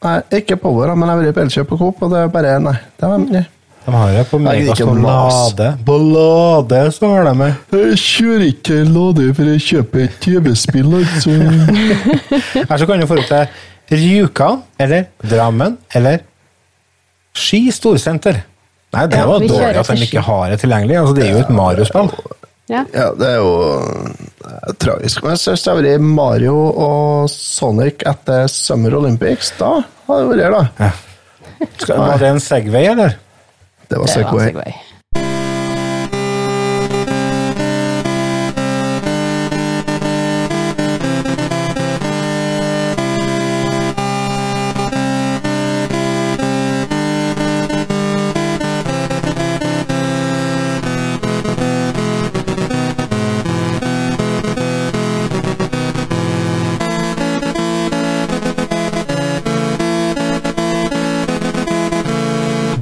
Nei, ikke Power, da, men jeg har vært på Elkjøp og Coop, og det er bare Nei. det var nei.
De har det på
Jeg gidder ikke å
Megas på
mase.
Lade. På Lade så har de det.
Jeg kjører ikke til Lade for å kjøpe et TV-spill, altså.
Her så kan du få opp til Rjukan, eller Drammen, eller Ski Storsenter. Nei, det
Ja,
var
vi
dårlig
kjører
at de
til Ski.
ikke har det tilgjengelig. Altså, det er jo et
Ja.
Mario-spill.
Ja, det er jo eh, tragisk. Men jeg synes det har vært Mario og Sonic etter Summer Olympics. Da har det vært her, da.
Skal- Var det en Segway, eller?
Det var
Det var
Segway.
Segway.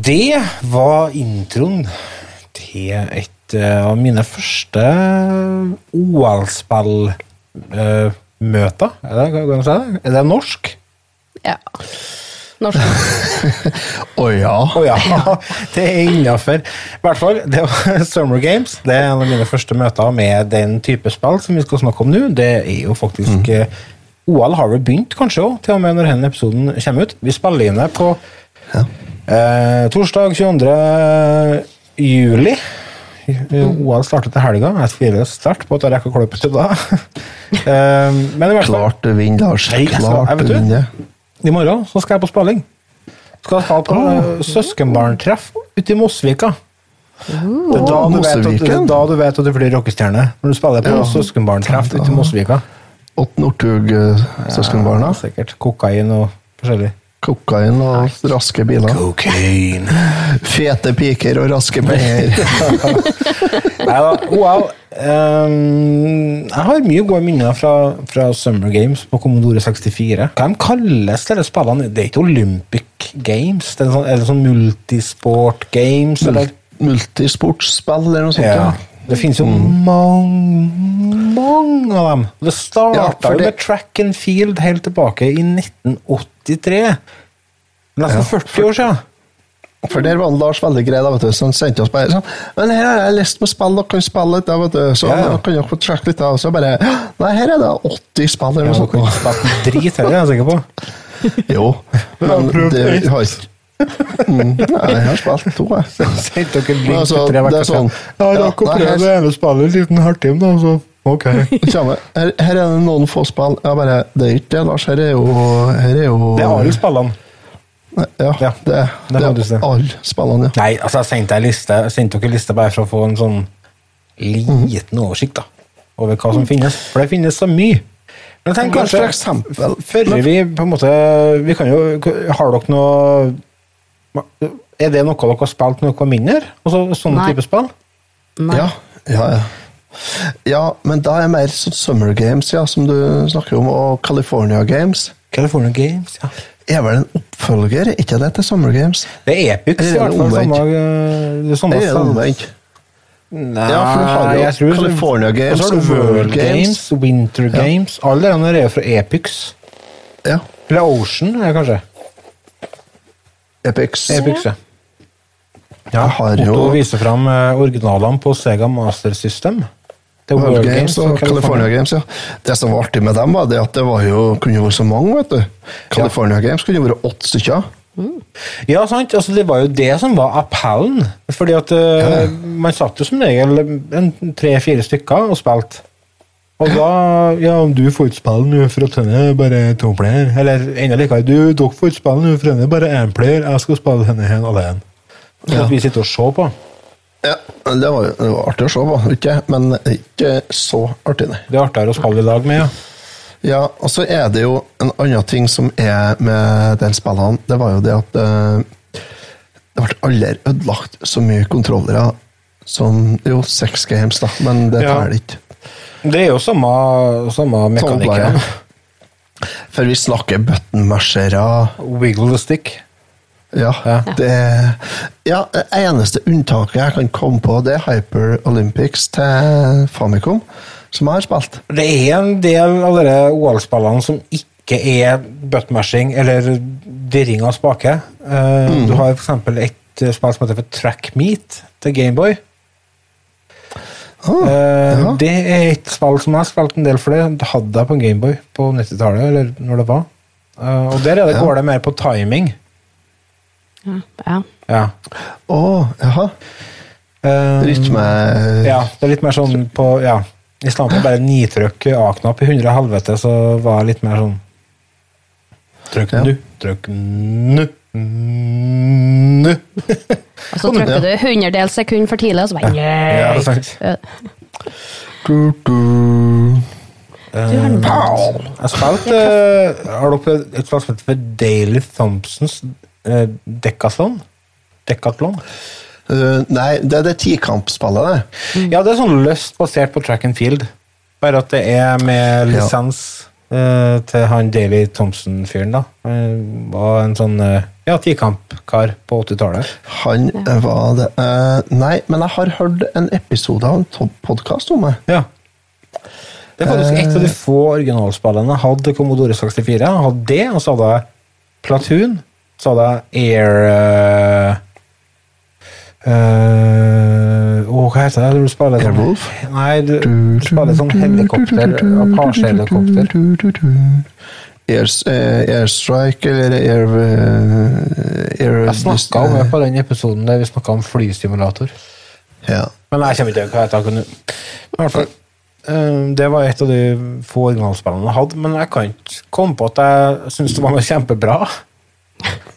Det var introen til et eh, av mine første OL-spillmøter. Er det hva kan man si? Er det norsk?
Ja. Norsk.
Å ja.
Å ja, det er innafor. I hvert fall, det var Summer Games. Det er en av mine første møter med den type spill som vi skal snakke om nå. Det er jo faktisk eh, OL har vel begynt, kanskje òg, til og med når denne episoden kommer ut. Vi spiller inn det på eh, torsdag 22. juli. Eh, OL starter til helga. Jeg tviler sterkt på at jeg rekker å klippe til da. Eh, men i hvert fall
Klart du vinner, Lars.
Nei, jeg skal- jeg
Klart
vet
du
du.
vinner.
i morgen så skal jeg på spilling. Skal jeg ha på eh, søskenbarntreff ute i Mosvika. Det er da du, vet at, det
Mosseviken?
er da du vet at du blir rockestjerne. Når du spiller på
Ja.
søskenbarntreff ute i Mosvika.
Ått eh, Northug-søskenbarna.
Ja, sikkert. Kokain og forskjellig.
Kokain og raske biler.
Kokain.
Fete piker og raske penger.
Nei da. OL. ehm, jeg har mye gode minner fra, fra Summer Games på Commodore 64. Hva de kalles disse spillene? Det er ikke Olympic Games? Det er, sånn, er det sånn multisport games? Eller?
Multisportspill eller noe sånt.
Ja.
Ja. Mm.
Det finnes jo mange, mange av dem. Og Det starta
Ja, for
jo
det-
med track and field helt tilbake i 1983. Nesten 40 år siden.
For der var han Lars veldig grei, da, vet du, så han sendte oss bare sånn Men her har jeg lyst på spill, dere kan spille litt, da, vet du. Så
Ja, ja.
da kan dere få tracke litt av, og så bare Nei, her er det 80 spill eller
Ja,
noe
dere kunne
sånt.
spilt drit heller, jeg er sikker på.
Jo. Men
prøvd
det
ett.
har ikke mm, Nei, jeg har spilt to, jeg.
Sendte dere link
Altså,
til tre
det er
verker
sånn-
siden. Ja, jeg rakk å
Ja, nei,
prøve
her-
det ene spillet en liten halvtime, da, så ok.
Samme. Her, her er det noen få spill. Ja, bare Det er ikke det, Lars. Her er jo Her er jo
Det er alle spillene.
Nei, Ja,
Ja,
det, det,
det har du sett.
er alle spillene, ja.
Nei, altså, jeg sendte ei liste, jeg sendte dere liste bare for å få en sånn liten oversikt da, over hva som finnes. For det finnes så mye. Men tenk
Men
kanskje
for eksempel-
Før vi på en måte Vi kan jo Har dere noe Er det noe dere har spilt noe mindre? Altså, sånne
Nei.
type spill?
Nei.
Ja, ja, ja. Ja, men da er det mer sånn Summer Games, ja, som du snakker om, og California Games.
California Games, ja.
er vel en oppfølger, ikke det, til Summer Games?
Det er Epic, i
Eller er
hvert
det
fall.
omvendt?
Samme, eh, det er samme
Eller er det
selv-
omvendt?
Nei,
Ja, for du har jo California Games,
og så har du World Games, Winter Games Alle de der er jo fra Epics.
Ja.
Eller Ocean, er det kanskje.
Epics.
Epics, ja. Ja,
Jeg har
Otto
jo-
viser fram eh, originalene på Sega Master System. Det er
World, Games og California, Games, ja. Det som var artig med dem, var det at det var jo, kunne vært så mange, vet du. California Games kunne vært åtte stykker.
Ja, sant. Altså, det var jo det som var appellen. Fordi at eh, man satt jo som regel en tre-fire stykker og spilte. Og da Ja, om du får ikke spille nå, for at den er bare to player. Eller enda likere, du, dere får ikke spille nå, for den er bare én player. Jeg skal spille henne hen alene. Så
Ja.
at vi sitter og ser på.
Ja, det var, jo- det var artig å se på, ikke? men ikke så artig, nei.
Det er artigere å spille i lag med, ja.
Ja, og så er det jo en annen ting som er med den spillene, det var jo det at eh, det ble aldri ødelagt så mye kontrollere som Jo, seks games, da, men det
Ja.
teller ikke.
Det er jo samme, samme mekanikken.
Tommelpleier. For vi snakker buttonmasjere.
Wiggle the stick.
Ja,
Ja.
det Ja, det eneste unntaket jeg kan komme på, det er Hyper Olympics til Famicom, som jeg har spilt.
Det er en del av dere OL-spillene som ikke ikke er buttmashing eller dirring av spake. Eh, Du har f.eks. et eh, spill som heter for Track Meet til Gameboy.
Ah,
Eh,
ja.
Det er et spill som jeg har spilt en del for det. Det hadde jeg på en Gameboy på 90-tallet, eller når det var. Eh, og der er det,
Ja.
går det mer på timing.
Ja. ja.
Ja.
Å, jaha.
Eh,
Rytme
Ja, det er litt mer sånn på Ja. I stedet for bare nitrykk A-knapp i hundre helvete, så var jeg litt mer sånn Trykk
Ja.
nu, trykk nu, nu.
Og så trykker du hundredel sekund for tidlig, og så bare
Ja, det er
yeah.
sant.
du, du.
Pow! Eh, Jeg spilte eh, Har dere et spill som heter Daily Thompsons eh, Decathlon? Decathlon?
Eh, Nei, det er det tikampspillet, det.
Ja, det er sånn løst basert på track and field. Bare at det er med
Ja.
lisens eh, til han Davy Thompson-fyren, da. Han var en sånn eh, ja, tikampkar på 80-tallet.
Han eh, var det eh, Nei, men jeg har hørt en episode av en podkast om det.
Ja. Det er faktisk et av de få originalspillene jeg hadde Commodore 64. Jeg hadde det, og så hadde jeg Platoon, så hadde jeg Air eh, eh, Åh, hva heter det? Du spiller sånn
Airwolf?
Nei, du, du spiller sånn helikopter. Apache-helikopter.
Airs- eh, Airstrike eller Air... eh, air
Jeg snakka om det på den episoden der vi snakka om flystimulator.
Ja.
Men jeg kommer ikke til hva jeg tar nå. I hvert fall, eh, det var et av de få originalspillene jeg hadde, men jeg kan ikke komme på at jeg syns det var noe kjempebra.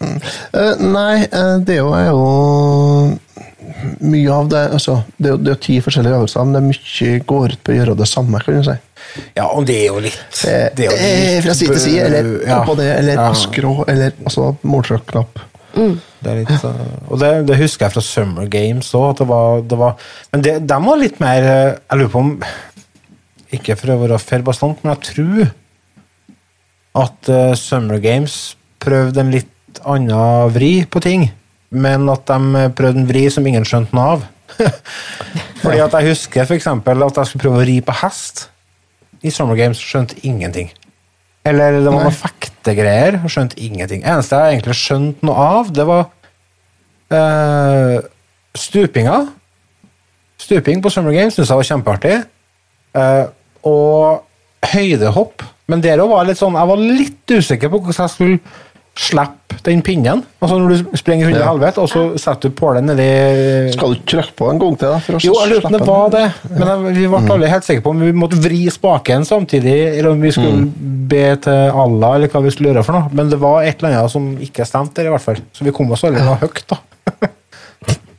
Eh, nei, eh, det er jo, er jo mye av det altså, Det er jo det er jo ti forskjellige øvelser, men det er mye går ut på å gjøre det samme. kan du si.
Ja, og det er jo litt
Eh,
det er jo
eh,
litt
fra side til side, eller
bø- ja.
oppå det, eller
Ja,
på skrå, eller altså, måltrykknapp.
det er litt, eh, og det, det husker jeg fra Summer Games òg, at det var, det var Men det, de var litt mer eh, Jeg lurer på om Ikke for å være fair bastant, men jeg tror at eh, Summer Games prøvde en litt annen vri på ting, men at de prøvde en vri som ingen skjønte noe av. Fordi at jeg husker f.eks. at jeg skulle prøve å ri på hest. I Summer Games skjønte ingenting. Eller det var noen fektegreier. og Skjønte ingenting. Eneste jeg egentlig skjønte noe av, det var eh, stupinga. Stuping på Summer Games syns jeg var kjempeartig. Eh, og høydehopp. Men der òg var jeg litt sånn Jeg var litt usikker på hvordan jeg skulle slippe den pinnen. Altså når du springer 100
Ja.
helvete, og så setter du pålen nedi
Skal du ikke trykke på en gang til? da, for å
jo, jeg lurer på om det
slippe
var
den?
det, men jeg, vi ble alle helt sikre på om vi måtte vri spaken samtidig, eller om vi skulle be til Allah, eller hva vi skulle gjøre for noe. Men det var et eller annet som ikke stemte der, i hvert fall. Så vi kom oss aldri noe høyt, da.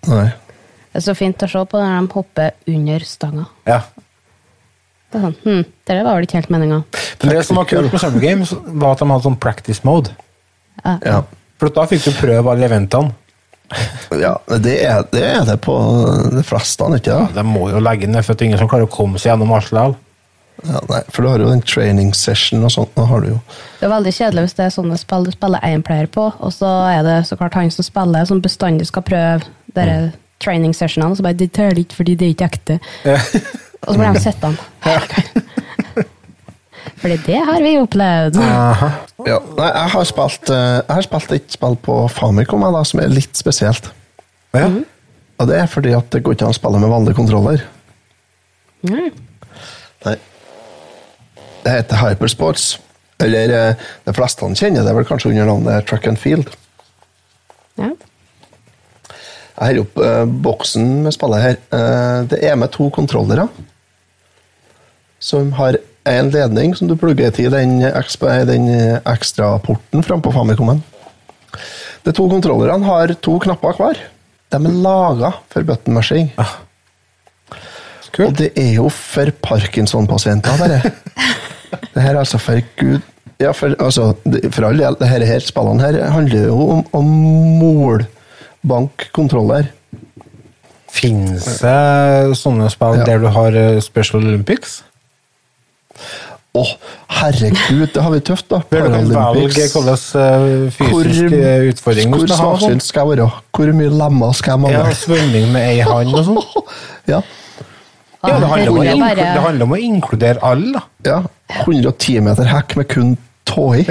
Nei.
Det er så fint å se på når de hopper under stanga.
Ja.
Det er sånn, hm, det der var vel ikke helt meninga.
Men det som var kult med Summer Games, var at de hadde sånn practice mode.
Ja.
For da fikk du prøve alle eventene.
ja det, er, det er det på de fleste, ikke det?
De må jo legge ned, for det er ingen som klarer å komme seg gjennom alt likevel.
Ja, nei, for du har jo den training session og sånt. Nå har du jo.
Det er veldig kjedelig hvis det er sånne spill du spiller én player på, og så er det så klart han som spiller, som bestandig skal prøve dere
Mm.
training sessionene, og så bare 'Det teller ikke fordi det er ikke ekte'. og så blir de sittende. Fordi det har vi opplevd.
Ja, nei, jeg har spilt, eh, jeg har spilt et spill på Famicom jeg, da, som er litt spesielt.
Ja.
Og det er fordi at det går ikke an å spille med vanlig kontroller.
Mm.
Nei. Det heter Hypersports. Eller eh, de fleste kjenner det vel kanskje under navnet Track and Field.
Ja.
Jeg har opp eh, boksen med spillet her. Eh, det er med to kontrollere. Som har én ledning som du plugger til den, eksp- den eh, ekstraporten frampå Famicomen. De to kontrollerne har to knapper hver. De er laga for button mashing.
Ah.
Og det er jo for Parkinson-pasienter, bare. det her er altså for Gud Ja, for, altså, det- for all del, det her, her spillene her handler jo om, om målbankkontroller.
Fins det eh, sånne spill
Ja.
der du har eh, Special Olympics?
Å, herregud, det har vi tøft, da.
Der du kan
Paralympics.
velge hvilken fysisk
Hvor-
eh, utfordring du
Hvor
skal ha. og sånn.
svaksynt skal jeg være? Hvor mye lemmer skal jeg
Ja,
mangle?
svømming med ei hand og sånn.
Ja.
Ja, det handler, om å
Herregud, bare-
inklu- det handler om å inkludere alle, da.
ja. 110 meter hekk med kun 12 få i.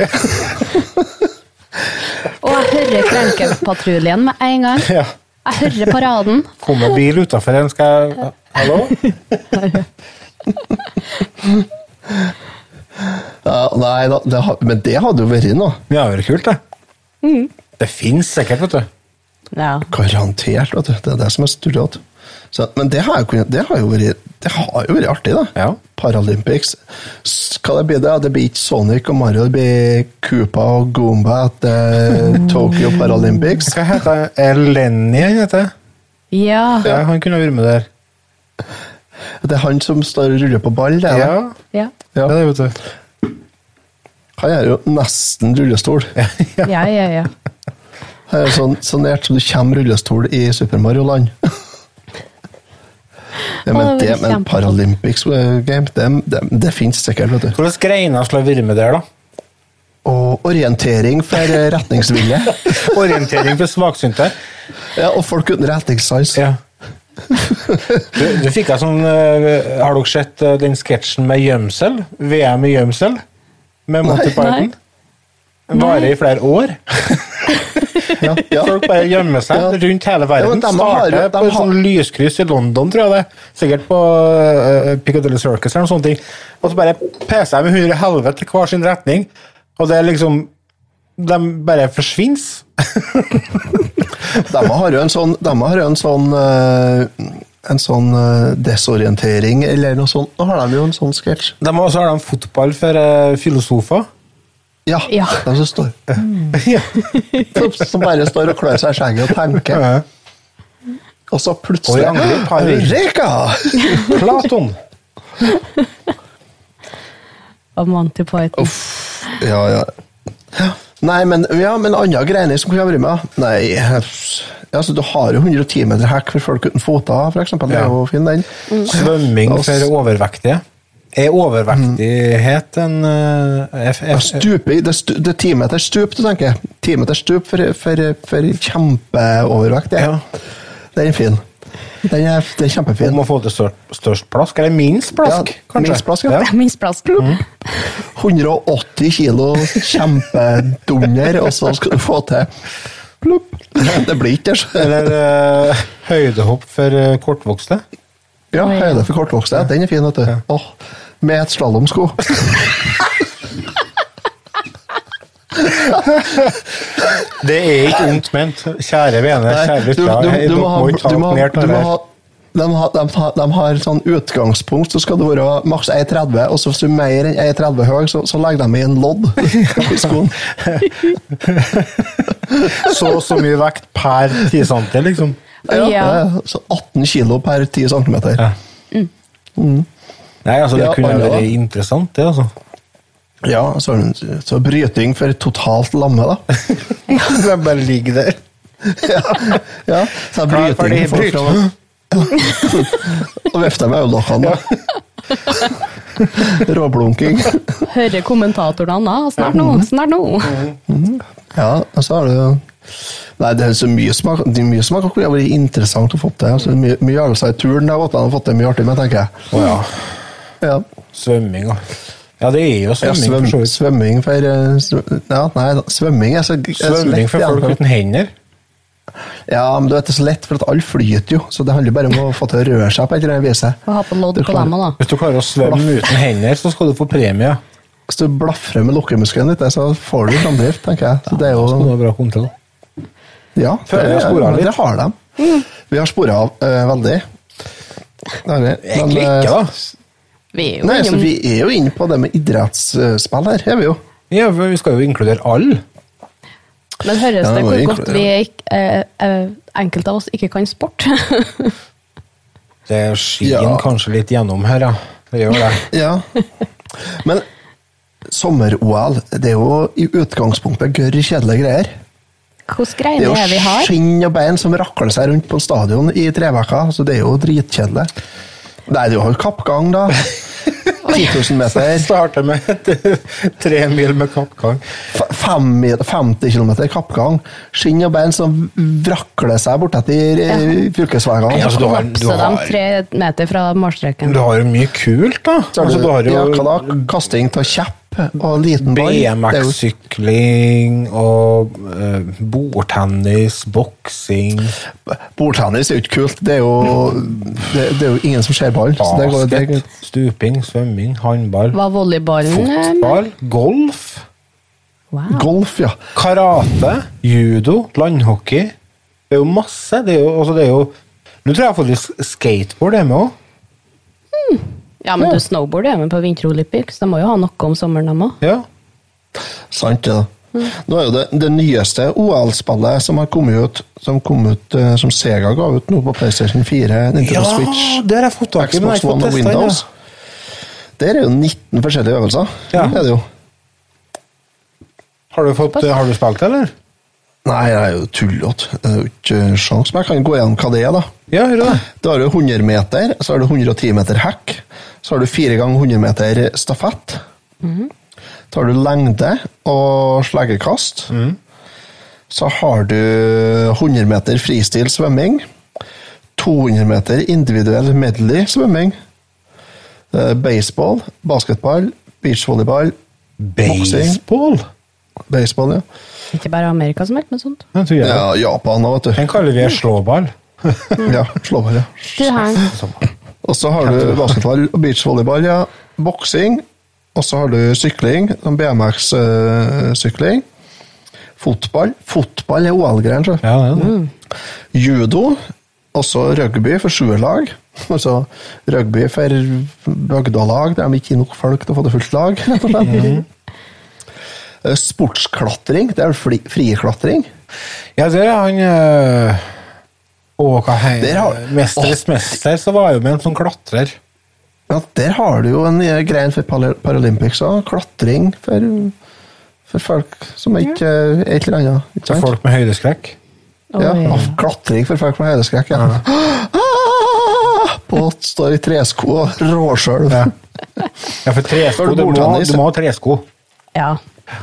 Og jeg hører Krenkepatruljen med en gang.
Ja.
Jeg hører paraden.
Kommer bil utafor en, skal jeg Hallo?
Ja, nei da, det, ha- men det hadde jo vært noe.
Ja, det hadde vært kult, det. Det fins sikkert, vet du.
Ja.
Garantert, vet du. Det er det som er studiet. Så, men det har, jo kunnet- det, har jo vært, det har jo vært artig, da.
Ja.
Paralympics. S- Hva det blir det? Det blir ikke Sonic og Mario, det blir Koopa og Goomba etter Tokyo Paralympics.
Hva heter han? Er Lenny han heter?
ja.
Ja, han kunne vært med der.
Det er han som står og ruller på ball, det. er det.
Ja,
Ja.
det
Ja.
er det, vet du.
Han er jo nesten rullestol.
Ja, ja, ja.
Han er jo sånn, så nært som du kommer rullestol i Super Mario-land. Ja, men
Å, det var
det, men
kjempeflott.
Paralympics eh, game, det, det, det fins sikkert, vet du.
Hvordan greina skulle ha vært med der, da?
Og orientering for eh, retningsvilje.
Orientering for svaksynte.
Ja, og folk uten retningssans.
Ja. Du, du fikk jeg sånn eh, Har dere sett eh, den sketsjen med gjemsel? VM i gjemsel? Med Monty
Nei.
Python? Varer i flere år.
Ja, ja.
Folk bare gjemmer seg
Ja.
rundt hele
Ja,
verden.
men dem har
Starter
jo-
på
dem
et sånn lyskryss i London, tror jeg det. Sikkert på eh, Piccadilly Circus eller noen sånne ting. Og så bare peser jeg med huet i helvete til hver sin retning, og det er liksom De bare forsvinner.
De har jo en sånn, de har jo en sånn eh, en sånn eh, desorientering eller noe sånt. Nå har de jo en sånn sketsj.
De har også har de fotball for eh, filosofer.
Ja,
Ja.
de som står som, som bare står og klør seg i skjegget og tenker.
Ja.
Og så
Og i
plutselig
angrep har vi-
Eureka!
Platon!
Og Monty Python.
Ja, ja. Nei, men, ja, men andre greier som kunne jeg vært med Nei, altså, Du har jo 110 meter hekk for folk uten føtter, f.eks. Det
Ja.
er jo fin, den.
Svømming for overvektige. Er overvektighet en eh, F...
Ja,
F
stupe, i- det, er stu, det er timeters stup, du tenker. Timeters stup for, for, for kjempeovervekt.
Ja.
Ja. Den er fin. Den er, den er
om
kjempefin.
å få til stør, størst plask, eller minst plask,
Ja,
kanskje?
minst plask, ja.
Minst plass.
Mm.
Plopp.
180 kilo kjempedunder, og så skal du få til Plopp. Det blir ikke det.
Eller eh, høydehopp for eh, kortvokste.
Ja, høyde for kortvokste. Den er fin, vet du. Åh, med et slalåmsko.
Det er ikke ondt ment. Kjære vene,
Nei,
kjære
du- du-
lyttere.
du-
Dere
du må
må
ha-
ikke
du
ta
må ha-
ned
du
det
må
her.
ha- De har, de, har, de har sånn utgangspunkt, så skal det være maks 1,30, og så hvis du er mer enn 1,30 høy, så, så legger de i en lodd i skoen.
Så og så mye vekt per 10 cm, liksom.
Ja.
Så 18 kilo per 10 cm.
Ja.
Mm.
Mm. Nei, altså, det
Ja,
kunne
alle,
vært
da.
interessant, det, altså.
Ja, så, så bryting for totalt lamme, da.
Det bare ligger der.
Ja, så
Klar
jeg
for de
bryting for,
bryt.
for å Og vifter med øyelokkene, da. Råblunking.
Hører kommentatorene da? Snart nå, snart nå.
Mm.
Ja, og så er det jo Nei, det er så mye som har det er mye som har kunne vært interessant å få til. Altså, mye mye øvelser i turen der, og fått til mye artig med, tenker jeg.
Å ja.
Ja.
Svømming, da. Ja, det er jo
Ja,
svømming.
svøm,
for så vidt.
svømming for eh, sv- Ja, nei, da, svømming er så, er så
Svømming
lett,
for
ja,
folk uten hender.
Ja, men du vet, det er så lett, for at alle flyter jo. Så det handler bare om å få til å røre seg på et eller annet vis.
Få ha på lodd
Du
på
klarer-
dem da.
Hvis du klarer å svømme uten hender, så skal du få premie.
Hvis du blafrer med lukkemuskelen litt, så får du framdrift, tenker jeg. Så det er
Så skal du
jo
ha bra kontroll.
Ja, det,
Føler jeg
er-
sporet
men
litt.
det har de. Vi har spora av eh, veldig. Det har vi. Men,
Egentlig
eh,
ikke, da.
Vi er jo
Nei, så
innom
Vi er jo inne på det med idrettsspill her. er vi jo.
Ja, for vi skal jo inkludere alle.
Men høres
Ja,
det
det var
hvor
inkl-
godt vi er ikke, eh, eh, enkelte av oss ikke kan sport?
Det skiner
Ja.
kanskje litt gjennom her, ja. Det gjør det.
Ja. Men sommer-OL det er jo i utgangspunktet gørr kjedelige greier.
Hvordan
Det er
greier er vi
jo
har?
skinn og bein som rakler seg rundt på en stadion i tre uker, så det er jo dritkjedelig. Nei, du har jo kappgang, da. 10 000 meter.
Starter med tre mil med kappgang.
F- fem mi- 50 km kappgang. Skinn og bein som vrakler seg bortetter ja.
Ja, altså,
fylkesveiene.
du har- du
Kollapse dem
har-
tre meter fra målstreken.
Du har jo mye kult, da.
Så har
Altså,
du-
du har jo
ja, hva da? Kasting av kjepp. og en liten ball. Det er jo-
BMX-sykling og eh, bordtennis, boksing
Bordtennis er jo ikke kult. Det er jo, det, det er jo ingen som ser ballen. så det går- det-
Basket, stuping, svømming, håndball,
Var volleyballen eh,
fotball, golf,
Wow.
Golf, ja.
karate, judo, landhockey. Det er jo masse. Det er jo, altså det er jo Nå tror jeg faktisk skateboard er med òg.
Ja, men du snowboard er jo med på vinterolympics. De må jo ha noe om sommeren, de òg.
Ja.
Sant det, da. Nå er jo det, det nyeste OL-spillet som har kommet ut, som, kom ut, eh, som Sega ga ut nå på PlayStation 4,
Ja,
Nintendo Switch,
det har jeg fått tak i, men jeg har
Xbox
ikke fått
One og
testet den,
Windows.
ja.
Der er jo 19 forskjellige øvelser.
Ja.
Det er det jo.
Har du, fått, har du spilt, eller?
Nei, jeg er jo tullete. Det er jo ikke sjans, men jeg kan gå gjennom hva det er, da.
Ja, gjør du det?
Da har du 100 meter, så har du 110 meter hekk, så har du 4 ganger 100 meter stafett. Så har du lengde og sleggekast. Så har du 100 meter fristil svømming, 200 meter individuell medley svømming, eh, baseball, basketball, beachvolleyball, boksing,
Baseball?
baseball, ja.
Ikke bare Amerika som holder på med sånt.
Den tror jeg.
ja Japan òg, vet
Den kaller vi slåball.
du. Ja, slå bare.
Du her.
Og så har du basketball og beachvolleyball, ja. Boksing. Og så har du sykling, BMX-sykling. eh, Fotball. Fotball er OL-greien, sjø.
Ja, det er det.
Judo. Og så rugby for sjuerlag. Altså rugby for bygdelag der de ikke er nok folk til å få det fullt lag. rett og slett. Eh, Sportsklatring. Det er vel fri- friklatring?
Ja, der er han øh, Å, hva
Der
heter
har-
Mesterens mester, så var jeg jo med en som klatrer.
Ja, der har du jo en eh, greie for Pal- Paralympics og Klatring for, for folk som ikke eh, Et eller annet. Ikke sant?
Folk med høydeskrekk.
ja,
Oi.
og Klatring for folk med høydeskrekk. Ja. Ah! Båt står i tresko og råskjelv. Ja.
Ja, for
Har
tresko,
du
du må,
bordtennis?
du må ha tresko.
Ja.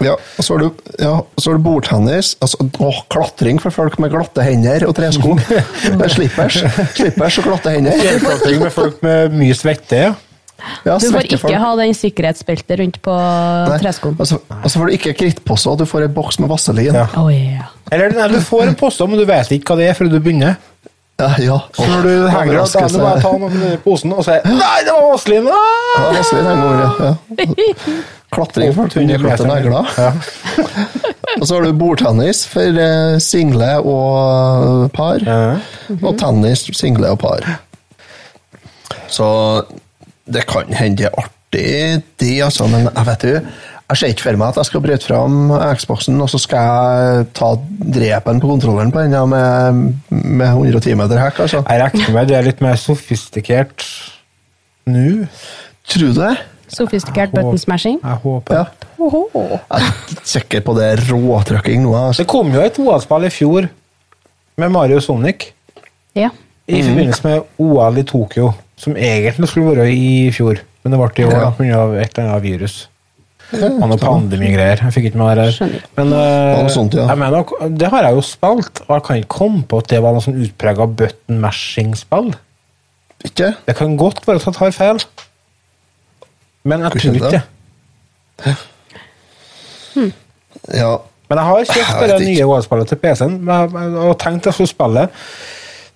og så har du, ja, og så har du bordtennis. Altså, å, klatring for folk med glatte hender og tresko. Det er slippers. Slippers og glatte hender.
Klatring med folk med mye svette. ja.
Ja,
Du får
svette folk.
ikke ha den sikkerhetsbeltet rundt på
Nei,
treskoen.
Og så og så får du ikke krittpose, og du får en boks med vaselin.
Ja.
Ja.
Oi, ja.
Eller nei, du får en pose, men du vet ikke hva det er før du begynner.
Ja,
Så når du henger deg, da er det bare å ta noen i posen og si 'Nei, det var Vazelin!' Ah!
Ja, Vazelin henger over, ja. Klatring for tunne klatte negler.
Ja.
Og så har du bordtennis for eh, single og eh, par.
Ja.
Og tennis, single og par. Så det kan hende det er artig, det, altså. Men jeg vet jo jeg ser ikke for meg at jeg skal bryte fram Xboxen, og så skal jeg ta drepen på kontrolleren på den ja, med, med 110 meter hekk, altså.
Jeg regner med det er litt mer sofistikert nå.
Tror du det?
Sofistikert button smashing.
Jeg håper
Ja. Jeg er sikker på det er råtrykking nå. Altså.
Det kom jo et OL-spill i fjor med Mario Sonic
Ja.
i
Mhm.
forbindelse med OL i Tokyo, som egentlig skulle være i fjor, men det ble i år
Ja.
pga. et eller annet virus. Og noe pandemigreier. Jeg fikk ikke med meg det her.
Skjønner.
Men eh,
noe sånt, ja.
jeg mener, det har jeg jo spilt, og jeg kan ikke komme på at det var noe sånn utprega button mashing-spill.
Ikke?
Det kan godt være at jeg tar feil, men jeg
Hvordan
tror ikke
det?
det.
Ja.
Men jeg har kjøpt
Jeg
det
vet
nye
ikke.
OL-spillet til PC-en men jeg- jeg- og tenkt jeg skulle spille det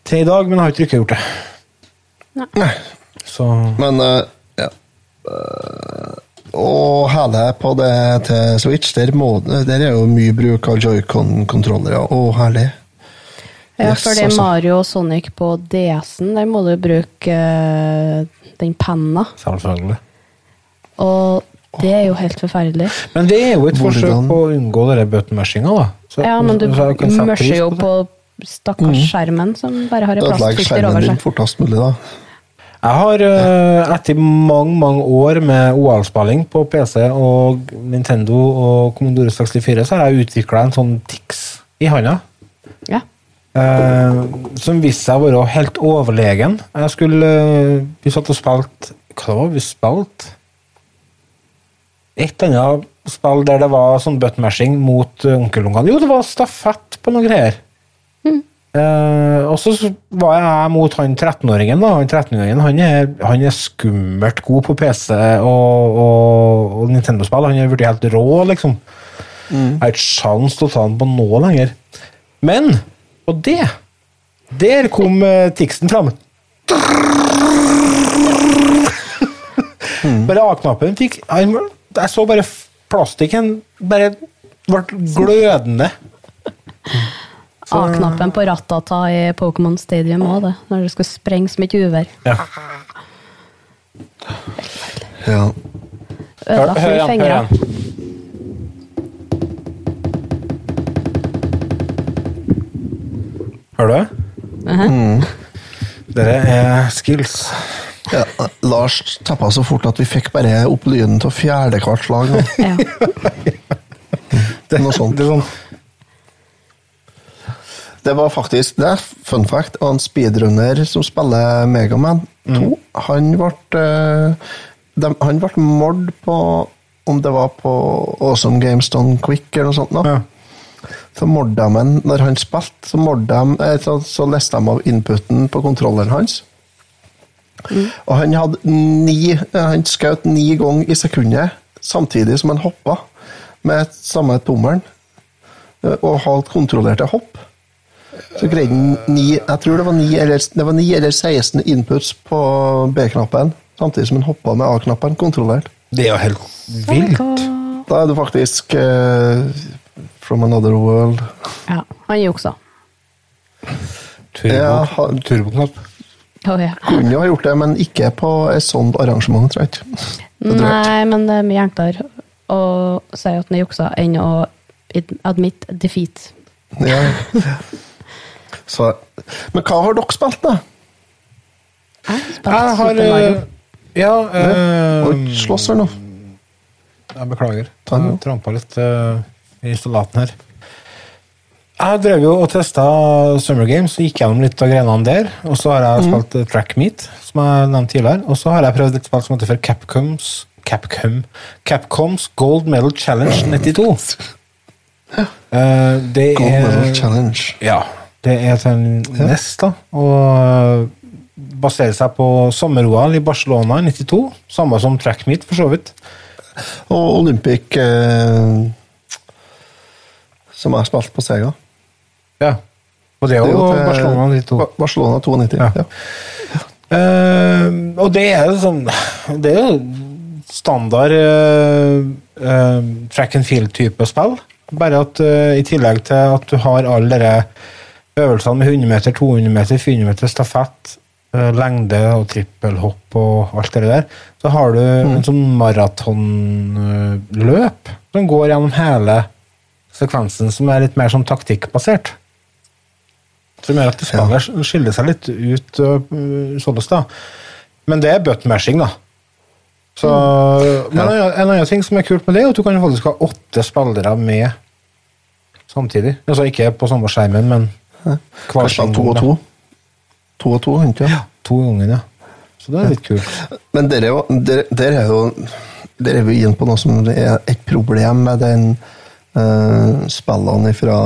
til i dag, men jeg har ikke rukket gjort det.
Nei.
Så
Men eh, ja. Eh, Og hele på det til Switch, der, må, der er jo mye bruk av joycon-kontrollere. Å, herlig.
ja
Yes,
for det er
altså.
Mario og Sonic på DS-en. Der må du bruke eh, den penna.
Selvfølgelig.
Og det er jo helt forferdelig.
Men det er jo et
Hvordan-
forsøk på å unngå denne bøtenmørsinga, da. Så-
Ja, men du
så jeg kan sette pris
mørser jo
det. Mm.
på stakkars skjermen som bare har en
Ødelegg
plastfilter
skjermen
over
din
seg.
fortest mulig, da.
Jeg har eh, etter mange, mange år med OL-spilling på PC og Nintendo og Commodore 64, så har jeg utvikla en sånn Tix i handa.
Ja.
Eh, som viste seg å være helt overlegen. Jeg skulle eh, Vi satt og spilte Hva var det vi spilte? Et eller annet spill der det var sånn buttmashing mot eh, onkelungene. Jo, det var stafett på noen greier. Eh, og så s- var jeg mot han 13-åringen. da, Han 13-åringen, han er, han er skummelt god på PC og, og, og Nintendo-spill. Han er blitt helt rå, liksom. Jeg har ikke sjans til å ta han på nå lenger. Men, og det Der kom eh, Tixen fram. Bare A-knappen fikk han var- Jeg så bare f- plastikken bare ble glødende.
A-knappen på Rattata i Pokémon Stadium òg, det. Når det skal sprenge som et uvær.
Ja.
Ja.
Hør,
Ødela
hør
for
igjen, hør
fingra.
igjen. Hører du? Mm. Dere er skills.
Ja, Lars tappa så fort at vi fikk bare opp lyden av fjerdekvart slag. nå.
Ja.
Det,
Noe sånt.
det er sånn
Det var faktisk det. er Fun fact. Han speedrunner som spiller Megaman 2, han ble eh, dem- Han ble mord på om det var på Awesome Games Done Quick eller noe sånt. nå.
Ja.
Så mordet de han når han spilte, så, mordet de, eh, så, så leste de av inputen på kontrolleren hans. Og han hadde ni eh, Han skjøt ni ganger i sekundet, samtidig som han hoppa med samme tommelen. eh, Og holdt kontrollerte hopp. Så greide han ni Jeg tror det var ni eller, det var ni eller 16 inputs på B-knappen, samtidig som han hoppa med A-knappen kontrollert.
Det er jo helt vilt.
Da er du faktisk eh, from another world.
Ja, han juksa.
Ja, ha-
Turbo- Turboknapp.
Å, ja.
Kunne jo ha gjort det, men ikke på et sånt arrangement, tror jeg ikke. Det tror jeg ikke.
Nei, men det er mye enklere å si at han er juksa, enn å id- admit defeat.
Ja. Så, men hva har dere spilt, da?
Jeg
Jeg har eh, Ja, eh,
Oi, slåss her nå.
Jeg beklager.
Ta den,
Jeg trampa litt eh, i salaten her. Jeg drev jo og testa Summer Games og gikk gjennom litt av grenene der. Og så har
Mm.
jeg spilt eh, Track Meet, som jeg nevnte tidligere. Og så har jeg prøvd et spill som heter for Capcoms Capcom, Capcoms Gold Medal Challenge 92. Eh, det
Gold Medal
er
Challenge.
ja, det er til en nest, da. Og øh, baserer seg på sommer-OL i Barcelona i 92. Samme som track meet, for så vidt.
Og Olympic eh, Som jeg spilte på Sega.
Ja. Og det er jo eh,
til
Barcelona i 92.
Ba- Barcelona 92.
Ja.
Ja.
Eh, og det er jo sånn Det er jo standard eh, eh, track and field-type spill. Bare at eh, i tillegg til at du har alle de øvelsene med 100 meter, 200 meter, 400 meter, stafett, eh, lengde og trippelhopp og alt det der, så har du en sånn maratonløp som går gjennom hele sekvensen, som er litt mer sånn taktikkbasert. Som gjør at det spillet skiller seg litt ut øh, sånn da. Men det er buttmashing, da. Så, Men en annen- en annen ting som er kult med det, er at du kan jo faktisk ha åtte spillere med samtidig. Altså ikke på samme skjermen, men hver
Kanskje
sin
to
gang,
og
da.
to. To og to, ikke sant?
To ganger, ja. Så det er litt kult.
Men dere, er jo- dere, dere er jo dere er jo inne på noe som er et problem med den eh, spillene fra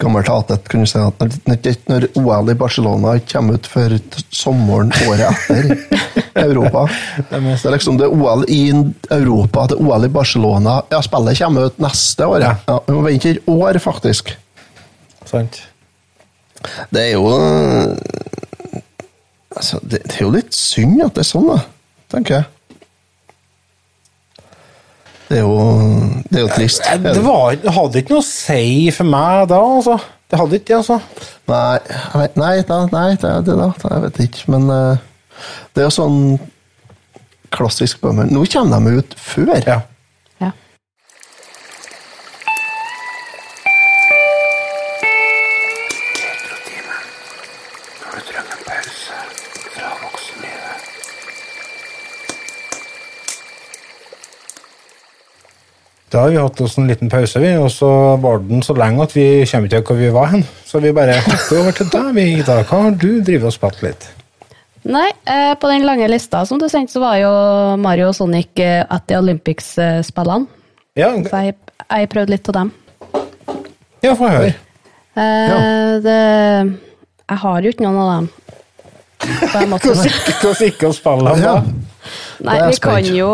gammelt hatet, kunne du si. at Når, når OL i Barcelona ikke kommer ut før t- sommeren året etter i Europa. Det er liksom det er OL i Europa, det er OL i Barcelona. Ja, spillet kommer ut neste år. Ja. Ja, vi må vente et år, faktisk.
Sant?
Det er jo eh, altså, det, det er jo litt synd at det er sånn, da, tenker jeg. Det er jo, det er jo trist.
Eh, Det var, det hadde ikke noe å si for meg da, altså. Det hadde ikke det, altså.
Nei, jeg vet- nei, da, nei det er det, da. Det- Jeg vet ikke. Men eh, det er jo sånn klassisk bømmer. Nå kommer de ut før.
Ja.
Ja.
Da har vi hatt oss en liten pause, vi, og så var den så lenge at vi kommer ikke til hvor vi var hen. Så vi bare hopper over til deg, vi, Ida. Hva har du drevet og spilt litt?
Nei, eh, på den lange lista som du sendte, så var jo Mario og Sonic eh, at de eh, Olympics-spillene.
Ja,
Så jeg, jeg prøvde litt av dem.
ja få høre.
Eh, det, jeg har jo ikke noen av dem. Så jeg måtte
Hvordan ikke- hvordan ikke å spille dem, da?
Nei,
Det er
vi kan,
spennende.
jo,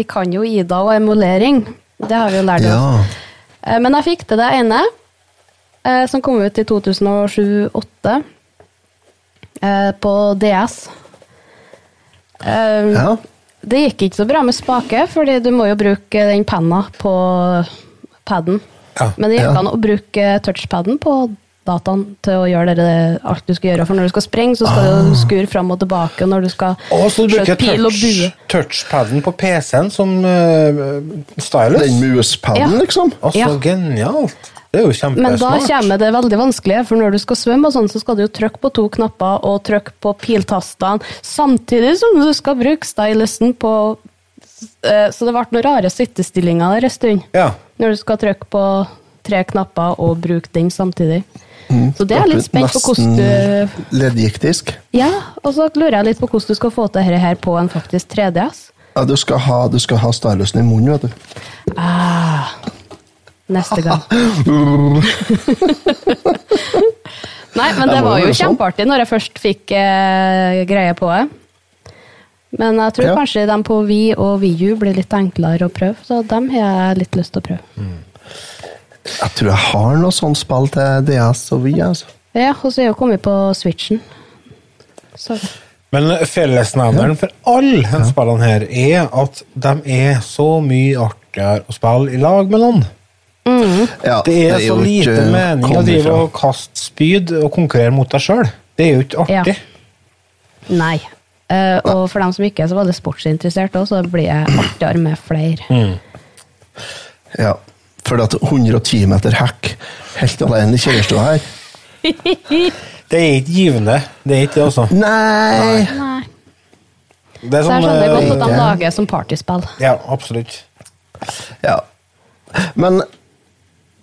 vi kan jo Ida og emulering. Det har vi jo lært oss.
Ja.
Eh, Men jeg fikk til det ene, eh, som kom ut i 2007-2008, eh, på DS. Eh,
ja.
Det gikk ikke så bra med spake, fordi du må jo bruke den penna på paden.
Ja,
Men det gikk
ja.
an å bruke touchpaden på dataen til å gjøre det, alt du skal gjøre. For når du skal sprenge, så skal du skure fram og tilbake. Og når du skal
Ah. Å, så du
skjøte
bruker
pil og bue.
touch, touchpaden på PC-en som eh, stylus?
Den muspaden,
Ja.
liksom.
Å, så
Ja.
genialt! Det er jo
Men da
kjempesmart.
kommer det veldig vanskelig, for når du skal svømme, og sånn, så skal du jo trykke på to knapper og trykke på piltastene, samtidig som du skal bruke stylusen på eh, Så det ble noen rare sittestillinger der en stund,
Ja.
når du skal trykke på tre knapper og bruke den samtidig. Så det er jeg litt spent på hvordan du
Mm, Nesten leddgiktisk.
Ja, og så lurer jeg litt på hvordan du skal få til dette her på en faktisk 3DS.
Ja, du skal ha, du skal ha stylusen i munnen, vet du.
Ah, Neste gang. Nei, men det
må
var
jo
jo
være sånn.
kjempeartig når jeg først fikk eh, greie på det. Men jeg tror
Ja.
kanskje de på Vi og VU blir litt enklere å prøve, så dem har jeg litt lyst til å prøve.
Mm. Jeg tror jeg har noe sånt spill til DS og vi, altså.
Ja, og så er jeg jo kommet på Switchen. Så.
Men fellesnevneren for alle disse spillene her er at de er så mye artigere å spille i lag med noen. Mm.
Ja,
Det er, så
jo ikke
lite mening å
kommet
drive
ifra.
og kaste spyd og konkurrere mot deg sjøl. Det er jo ikke
Ja.
artig.
Nei. Eh, og for dem som ikke er så veldig sportsinteressert òg, så blir jeg artigere med flere.
Ja, for at 110 meter hekk helt alene i kjellerstua her.
Det er ikke givende. Det er ikke det, altså.
Nei!
Nei.
Det er
Så jeg skjønner
eh,
godt at de
ja.
lager som partyspill.
Ja, absolutt.
Ja. Men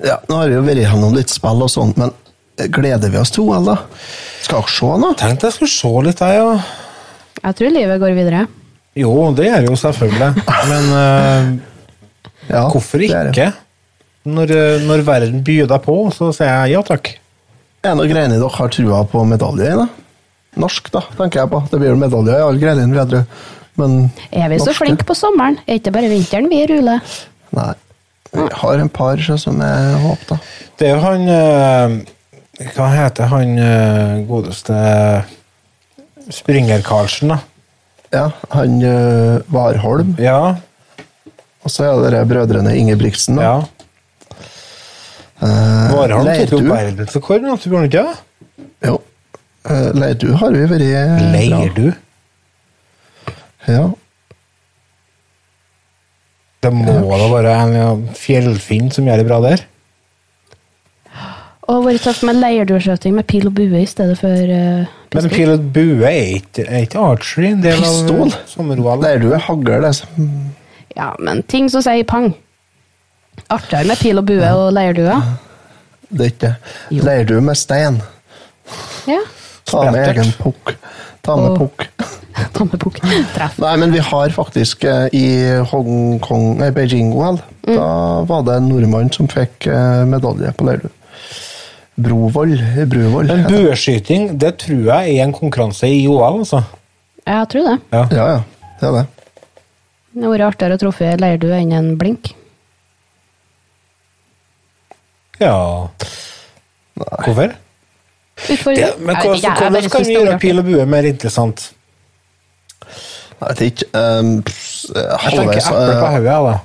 ja, nå har vi jo vært gjennom litt spill og sånt, men gleder vi oss til OL, da? Skal dere se nå?
Tenkte jeg skulle se litt, jeg, ja.
Jeg tror livet går videre.
Jo, det gjør jo selvfølgelig. Men eh,
Ja,
hvorfor
det er det.
ikke? Når, eh, når verden byr deg på, så sier jeg ja takk.
Er det noen greiene dere har trua på medalje i, da? Norsk, da, tenker jeg på. Det blir jo medalje i alle greiene, vet du. Men
Er vi så
norsk,
flinke på sommeren? Er ikke bare vinteren vi ruler?
Nei. Vi har en par så, som jeg håper, da.
Det er jo han eh, Hva heter han eh, godeste Springer-Karlsen, da?
Ja, han øh, Warholm,
Ja.
og så er det de brødrene Ingebrigtsen. da.
ja.
Eh,
Varholm tok jo
Leirdu.
verdensrekord, nå, tror du ikke det?
Jo. Eh, Leirdu har vi vært bra.
Leier du?
Ja.
Det må da være en ja, fjellfinn som gjør det bra der?
Og vært tøft med leirdueskjøting med pil og bue i stedet for eh,
Men
pistol.
pil og bue er ikke, er ikke archery en del
Pistol?
av sommer-OL?
Leirdu er hagl, det. som-
Ja, men ting som sier pang. Artigere med pil og bue og leirdue.
Det er ikke det.
Jo.
Leirdu med stein.
Ja.
Ta med
Sprettert.
egen pukk. Ta med
Og-
pukk.
Tammepukk. Treff.
Nei, men vi har faktisk eh, i Hongkong, nei, Beijing-OL, da var det en nordmann som fikk eh, medalje på Leirdu. Brovoll. Bruvoll.
Men
heter det.
bueskyting det tror jeg er en konkurranse i OL, altså.
Ja, jeg tror det.
Ja.
Ja, ja. Det er det.
Det hadde vært artigere å truffe ei leirdue enn en blink.
ja. Hvorfor?
Utfordring.
Det, men
Jeg vet ikke,
hvordan,
jeg er
hvordan
bare
kan
synes
vi
det er
gjøre
artig.
pil og bue mer interessant?
Jeg vet ikke. Um, pss,
Jeg tenker
halvveis,
eple på
eh,
hodet, jeg, da.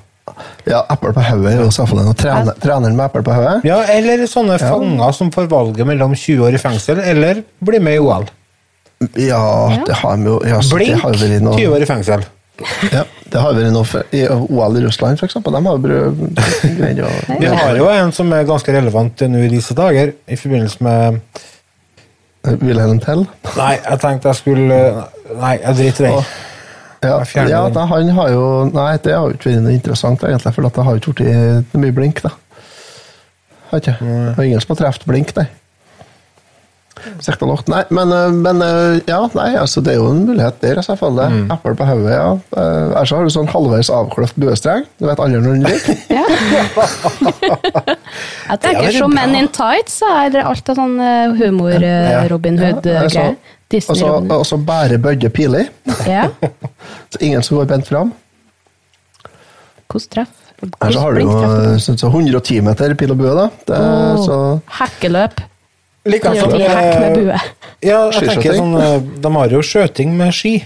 Ja, eple på hodet er jo selvfølgelig noe. Trener, trener med eple på hodet?
Ja, eller sånne fanger som får valget mellom 20 år i fengsel eller bli med i OL.
Ja, det har vi jo ja, så det
Blink,
har jo vært
20
noe,
år i fengsel.
ja, det har vært noe for, I OL i Russland, for eksempel. De har jo brød- greid å
Vi har jo en som er ganske relevant nå i disse dager, i forbindelse med
Wilhelm Tell.
Nei, jeg tenkte jeg skulle Nei, jeg driter i det.
Ja,
Jeg fjerner
ja
den.
da, han har jo Nei, det har jo ikke vært noe interessant, egentlig, for at det har jo ikke blitt mye blink, da. Har ikke? Det var ingen som har truffet blink, nei. Sikta lavt. Nei, men, eh, men eh, ja, nei, altså, det er jo en mulighet der, selvfølgelig. Eple på hodet, ja. Eh, Ellers har du sånn halvveis avkløft buestreng. Du vet aldri når den ligger.
Jeg tenker
veldig
som
bra.
Men in Tights, så er det alt av sånn eh, humor, eh, Robin
Ja, altså,
Hood-greier.
Og så-
Disney-Robin.
Og så bære bødde piler.
Ja.
Så ingen som går bent fram.
Hvordan treff?
Her så har du jo eh, så, så 110 meter pil og bue, da. Det, er
Åh,
så,
Hekkeløp.
Like
Det er jo
sånn,
ikke hekk med
eh,
bue.
Ja, jeg tenker
Skiskjøting.
sånn, eh, De har jo skjøting med ski.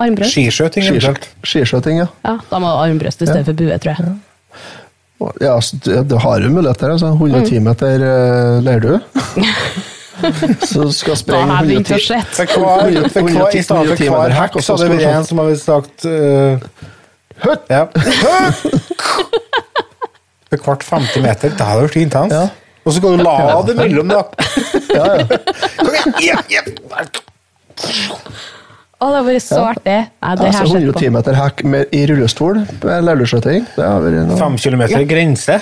Armbrøst.
Skiskjøting. eventuelt.
skis- Skiskjøting, ja.
Ja, da må det være armbrøst i stedet for bue, tror jeg.
Og- ja så, du, du har jo muligheter. Altså,
Mm.
110 meter uh, leirdue. så skal
Da
sprenge
har jeg begynt å
110
se.
For hver, for hver, I stedet for
110
hver
meter
hekk,
hekk,
så hadde det vært en som hadde sagt eh, Høtt! Ja. For hvert 50 meter. Det hadde vært intenst.
Ja.
Og så kan du la det mellom, da.
Ja, ja.
Kom igjen! Ja, ja.
Å, det har vært så artig. Nei, det
altså,
her setter
110
på.
meter hekk med, i rullestol med leirdeskøyting. Det har vært noe.
Fem kilometer grense.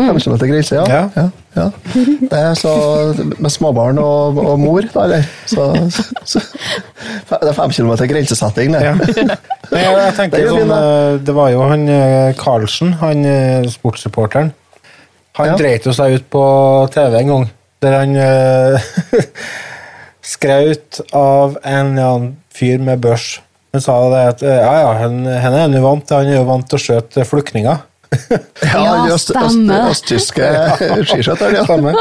15 meter grense, ja.
Ja.
ja. ja. Det er så, med småbarn og, og mor, da, eller? Så, så, det er 5 km grensesetting, det.
Ja. Nei, jeg, jeg tenker
Det er jo
sånn,
fint,
eh, det var jo han eh, Karlsen, han eh, sportsreporteren. Han
Ja.
dreit jo seg ut på TV en gang, der han eh, skraut av en eller annen fyr med børs. Han sa det at eh, ja, ja, han, han er jo vant til han er jo vant til å skjøte flyktninger.
Ja,
de
stemmer.
østtyske skiskøyteren, ja.
Stemmer.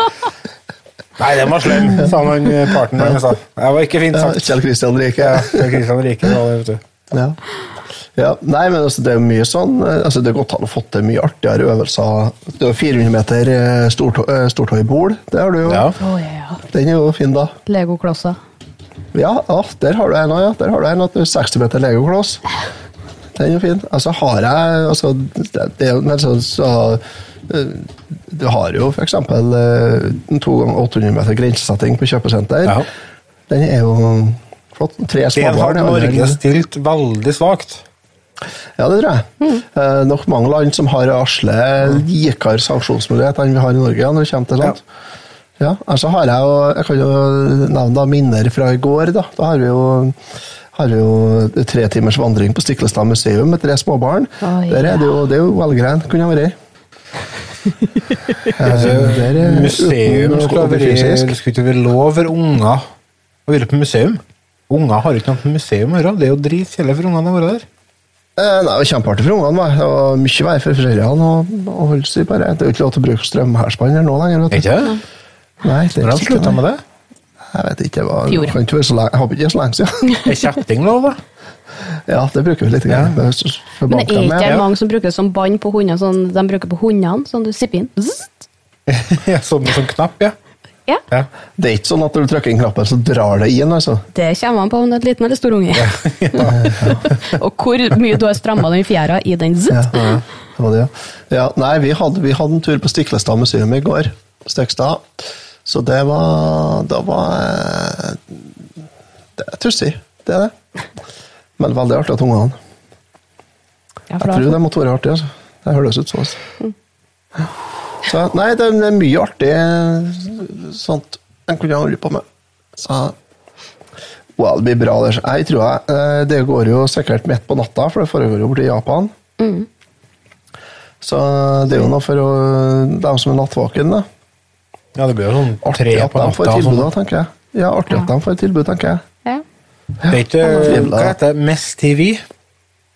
Nei, den var slem, sa han eh, partneren. Han sa. Det var ikke fint
ja.
sagt.
Kjell Kristian Rike.
Ja, Kristian Rike sa det, vet du.
Ja. Ja, nei, men altså, det er jo mye sånn eh, altså, Det er godt han har fått til mye artigere øvelser. Det er jo 400 meter eh, stortå- eh, stortåibol. Det har du jo.
Ja.
Å, ja.
Den er jo fin, da.
Legoklosser.
Ja, ja, der har du en òg, ja. Der har du en at du er 60 meter legokloss. Den er jo fin. Altså, har jeg altså, det, det er jo men så, så eh, Du har jo f.eks. en 2 ganger 800 meter grensesetting på kjøpesenter.
Ja.
Den er jo flott. Tre
Det har
småbarn. er
Norge
allerede-
stilt veldig svakt.
Ja, det tror jeg. Eh, nok mange land som har Asle likere sanksjonsmulighet enn vi har i Norge når det kommer til sånt. Ja, altså har jeg jo, jeg kan jo nevne da minner fra i går. Da, da har vi jo har vi jo tre timers vandring på Stiklestad museum med tre småbarn.
Oi,
Der er det jo, det er jo velgrein. Kunne ha vært. Eh, der er-
Museum
uten å
skulle
gå
være,
fysisk.
det skulle ikke være lov for unger å være på museum. Unger har ikke noe på museum å gjøre. Det er jo dritkjedelig for ungene å være der.
Eh, Nei, det var Kjempeartig for ungene. var det. Det var mye vei for foreldrene å å holde seg bare. Det er jo ikke lov til å bruke strømhærspanner nå lenger. vet du.
Ikke det?
Nei, det er
Når
ikke
de slutta
det.
med det?
Jeg vet ikke, det var,
Fjor.
kan ikke være så lenge, jeg håper ikke det er så lenge siden.
Er kjetting lov, da?
Ja, det bruker vi litt. Ja. Det er så- så
Men
banker
det er
med.
ikke det mange som bruker det som bånd på hundene, sånn de bruker på hundene, sånn du sipper inn? Zzzt.
Ja, Som en sånn knapp, ja.
Ja.
ja.
Det er ikke sånn at når du trykker inn knappen, så drar det inn, altså.
Det kommer an på om det er et liten eller stor unge. og hvor mye du har stramma den fjæra i den.
Ja,
Zzzt.
det var det, ja. ja nei, vi hadde, vi hadde en tur på Stiklestad museum i går, Stekstad. Så det var, det var, eh, det er tussig, det er det. Men veldig artig at ungene.
Ja,
Jeg tror det måtte være artig, altså. Det høres ut sånn. Så, nei, det er- det er mye artig sånt en kunne ha holdt på med. Så wow, det blir bra. Det, jeg tror jeg, eh, det går jo sikkert midt på natta, for det foregår jo borti Japan.
Mm.
Så det er jo noe for å, dem som er nattvåken, da.
ja, det blir jo sånn tre
Artig at
på
de får
natta. og
tilbud, da,
Sånn.
tenker jeg. Ja, artig at de får tilbud, tenker jeg.
Ja.
Det er ikke
Trivelig,
Hva
da.
heter det? Mess TV?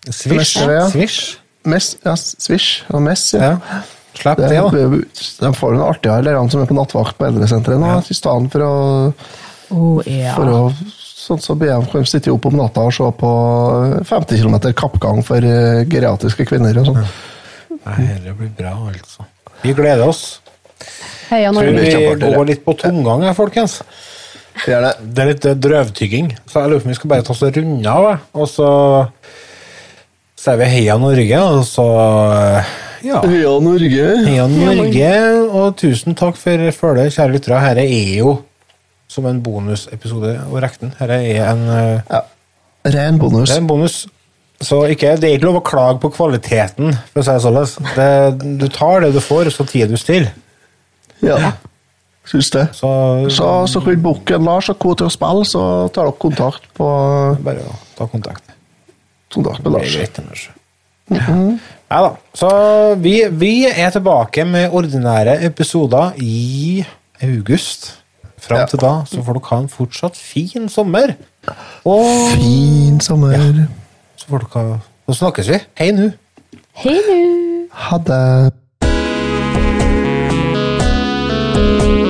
Swish?
Mess TV, ja.
Swish?
Mess, ja, Swish og Mess,
Ja. Slipp
Det
det, da.
blir jo- de får jo noe artigere, eller han som er på nattvakt på eldresenteret nå, i stedet for å,
Oh, ja.
for å Sånn som BM kan sitte opp om natta og se på 50 km kappgang for eh, geriatriske kvinner og sånn.
Nei, det blir bra, altså. Vi gleder oss.
Heia
Tror
Norge.
vi
kjempeartig, det.
går litt på tomgang her, folkens.
Gjerne.
Det er litt eh, drøvtygging, så jeg lurer på om vi skal bare ta oss og runde av, jeg. og så sier vi heia Norge, og så eh, ja.
Heia Norge!
Heia Norge, og tusen takk for følget, kjære lyttere. Dette er jo som en bonusepisode å regne den. Dette er en, eh,
Ja. Ren bonus.
det er en bonus. Så ikke, det er ikke lov å klage på kvaliteten, for å si det sånn. Det- Du tar det du får, så tier du stille.
Ja. Syns det. Så,
Så-
så, kunne bukken Lars og co. til å spille, så tar dere kontakt på eh,
Bare å ta kontakt.
kontakt
Det er
med Lars.
greit, Anders. altså. Ja da. Så vi, vi er tilbake med ordinære episoder i august. Fram
Ja.
til da så får dere ha en fortsatt fin sommer. Og
Fin sommer.
så får dere ha Så snakkes vi. Hei nå.
Hei nu!
Ha det.